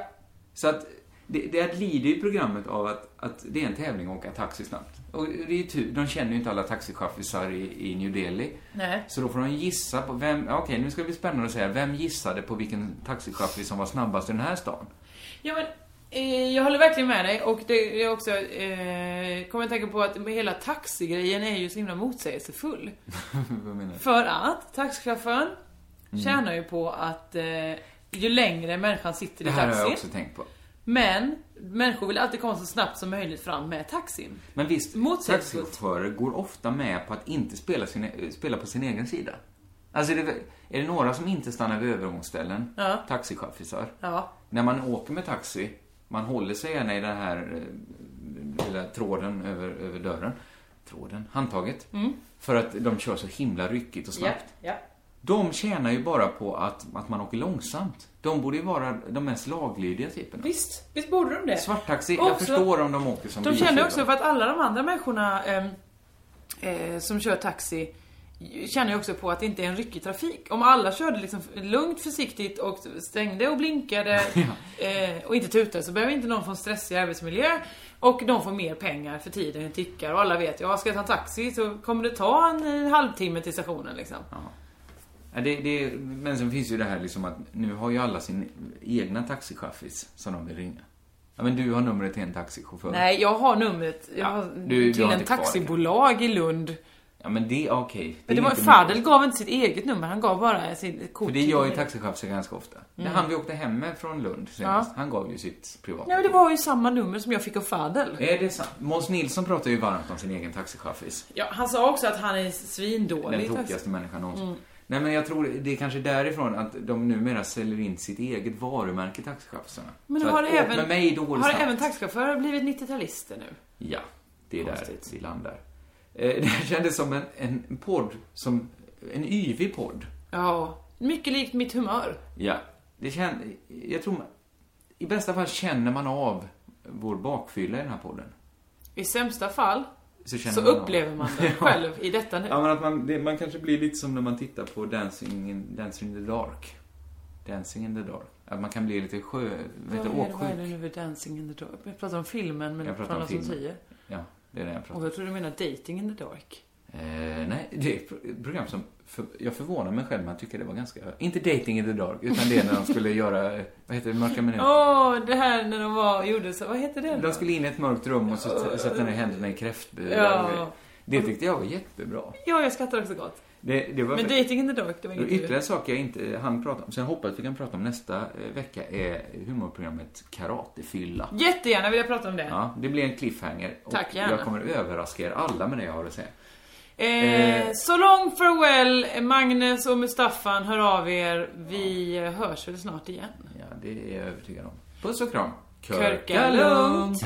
Speaker 9: Så att det, det lider ju programmet av att, att det är en tävling att åka taxi snabbt. Och det är ju tur, de känner ju inte alla taxichaffisar i, i New Delhi.
Speaker 8: Nej.
Speaker 9: Så då får de gissa på vem, ja, okej nu ska det bli spännande att säga, vem gissade på vilken taxichaffis som var snabbast i den här stan?
Speaker 8: Ja, men, eh, jag håller verkligen med dig och det är också, eh, kommer jag tänka på att hela taxigrejen är ju så himla motsägelsefull.
Speaker 9: Vad menar du?
Speaker 8: För att taxichauffören
Speaker 9: Mm.
Speaker 8: tjänar ju på att eh, ju längre människan sitter
Speaker 9: Det
Speaker 8: i
Speaker 9: här har jag också
Speaker 8: taxin.
Speaker 9: tänkt på.
Speaker 8: Men människor vill alltid komma så snabbt som möjligt fram med taxin.
Speaker 9: Men visst,
Speaker 8: Motsägelsefullt.
Speaker 9: taxichaufförer går ofta med på att inte spela, sin, eh, spela på sin egen sida. Alltså, är det, är det några som inte stannar vid övergångsställen,
Speaker 8: Ja.
Speaker 9: taxichaffisar,
Speaker 8: Ja.
Speaker 9: när man åker med taxi, man håller sig gärna i den här eh, lilla tråden över, över dörren, tråden, handtaget.
Speaker 8: Mm.
Speaker 9: För att de kör så himla ryckigt och snabbt.
Speaker 8: Ja,
Speaker 9: De tjänar ju bara på att, att man åker långsamt. De borde ju vara de mest laglydiga typerna.
Speaker 8: Visst, visst borde de det?
Speaker 9: Svarttaxi,
Speaker 8: Och
Speaker 9: jag
Speaker 8: också-
Speaker 9: förstår om de åker som
Speaker 8: De känner
Speaker 9: biltjuvar.
Speaker 8: också för att alla de andra människorna ehm, eh, som kör taxi känner ju också på att det inte är en ryckig trafik. Om alla körde liksom lugnt, försiktigt och stängde och blinkade eh, och inte tutade så behöver inte någon få en stressig arbetsmiljö. Och de får mer pengar för tiden tickar och alla vet ja, ska jag ta en taxi så kommer det ta en, eh, halvtimme till stationen liksom.
Speaker 9: Ja, det, det, men sen finns ju det här liksom att nu har ju alla sin egna taxichaffis som de vill ringa. Ja, men du har numret till en taxichaufför.
Speaker 8: Nej, jag har numret jag har
Speaker 9: du- du
Speaker 8: till
Speaker 9: har
Speaker 8: en
Speaker 9: inte kvar det,
Speaker 8: taxibolag i Lund.
Speaker 9: Ja, men det, okej.
Speaker 8: Men
Speaker 9: är
Speaker 8: det var,
Speaker 9: inte
Speaker 8: Fadel
Speaker 9: mycket.
Speaker 8: gav inte sitt eget nummer, han gav bara sitt kort.
Speaker 9: För det gör ju
Speaker 8: till-
Speaker 9: taxichaufförer ganska ofta. Det är
Speaker 8: Mm.
Speaker 9: han vi åkte hem med från Lund senast.
Speaker 8: Ja.
Speaker 9: Han gav ju sitt privata.
Speaker 8: Nej men det var ju samma nummer som jag fick av Fadel.
Speaker 9: Är det sant? Måns Nilsson pratar ju varmt om sin egen taxichaffis.
Speaker 8: Ja, han sa också att han är
Speaker 9: Den
Speaker 8: svindålig.
Speaker 9: tokigaste människan någonsin.
Speaker 8: Mm.
Speaker 9: Nej men jag tror det är kanske därifrån att de numera säljer in sitt eget varumärke taxichaufförerna.
Speaker 8: Men
Speaker 9: Så
Speaker 8: har,
Speaker 9: att, "Åk
Speaker 8: även,
Speaker 9: med mig då går det
Speaker 8: har
Speaker 9: snabbt."
Speaker 8: även taxichaufförer blivit 90-talister nu?
Speaker 9: Ja, det är där vi landar. Eh, Det här kändes som en, en podd, som en yvig podd.
Speaker 8: Ja, mycket likt mitt humör.
Speaker 9: Ja. Det kän, jag tror, man- i bästa fall känner man av vår bakfylla i den här podden.
Speaker 8: I sämsta fall
Speaker 9: Så,
Speaker 8: så,
Speaker 9: känner av-
Speaker 8: upplever man det själv i detta nu.
Speaker 9: Ja, men att man, det, man kanske blir lite som när man tittar på Dancing in, Dancing in the Dark. Dancing in the Dark. Att man kan bli lite sjö...
Speaker 8: vad,
Speaker 9: Vad
Speaker 8: är, det-
Speaker 9: heter det?
Speaker 8: vad är
Speaker 9: Åksjuk.
Speaker 8: det nu vid Dancing in the Dark? Jag pratar om filmen men
Speaker 9: Jag pratar
Speaker 8: från
Speaker 9: om filmen.
Speaker 8: 2010.
Speaker 9: Ja, det är det jag pratar om.
Speaker 8: Och jag tror du menar Dating in the Dark.
Speaker 9: Eh, nej, det är ett program som... För, jag förvånar mig själv, man tycker det var ganska... Inte Dating in the Dark, utan det är när de skulle göra... eh, Vad heter det? Mörka minuter.
Speaker 8: Åh, det här när de var, gjorde så, vad heter det?
Speaker 9: De skulle in i ett mörkt rum och så t- sätta ner händerna i kräftburar.
Speaker 8: Ja.
Speaker 9: Det tyckte jag var jättebra.
Speaker 8: Ja, jag skrattar också gott.
Speaker 9: Det, det var
Speaker 8: Men Dating in the Dark, det var
Speaker 9: Och
Speaker 8: inget
Speaker 9: Ytterligare en sak jag inte eh, hann prata om, som jag hoppas vi kan prata om nästa eh, vecka, är humorprogrammet Karatefylla.
Speaker 8: Jättegärna vill jag prata om det.
Speaker 9: Ja, det blir en cliffhanger. Och
Speaker 8: Tack, gärna.
Speaker 9: Jag kommer överraska er alla med det jag har att säga.
Speaker 8: Eh, så long farewell, Magnus och Mustafan, hör av er. Vi hörs väl snart igen.
Speaker 9: Ja, det är jag övertygad om. Puss och kram.
Speaker 8: Körka lugnt.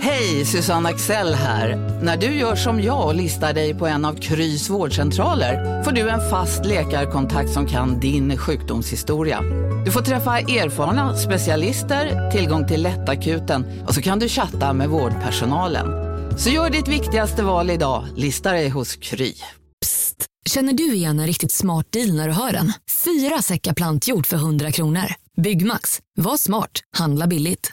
Speaker 12: Hej, Susanne Axel här. När du gör som jag och listar dig på en av Krys vårdcentraler får du en fast läkarkontakt som kan din sjukdomshistoria. Du får träffa erfarna specialister, tillgång till lättakuten och så kan du chatta med vårdpersonalen. Så gör ditt viktigaste val idag, lista dig hos Kry.
Speaker 13: Psst! Känner du igen en riktigt smart deal när du hör den? Fyra säckar plantjord för 100 kronor. Byggmax. Var smart. Handla billigt.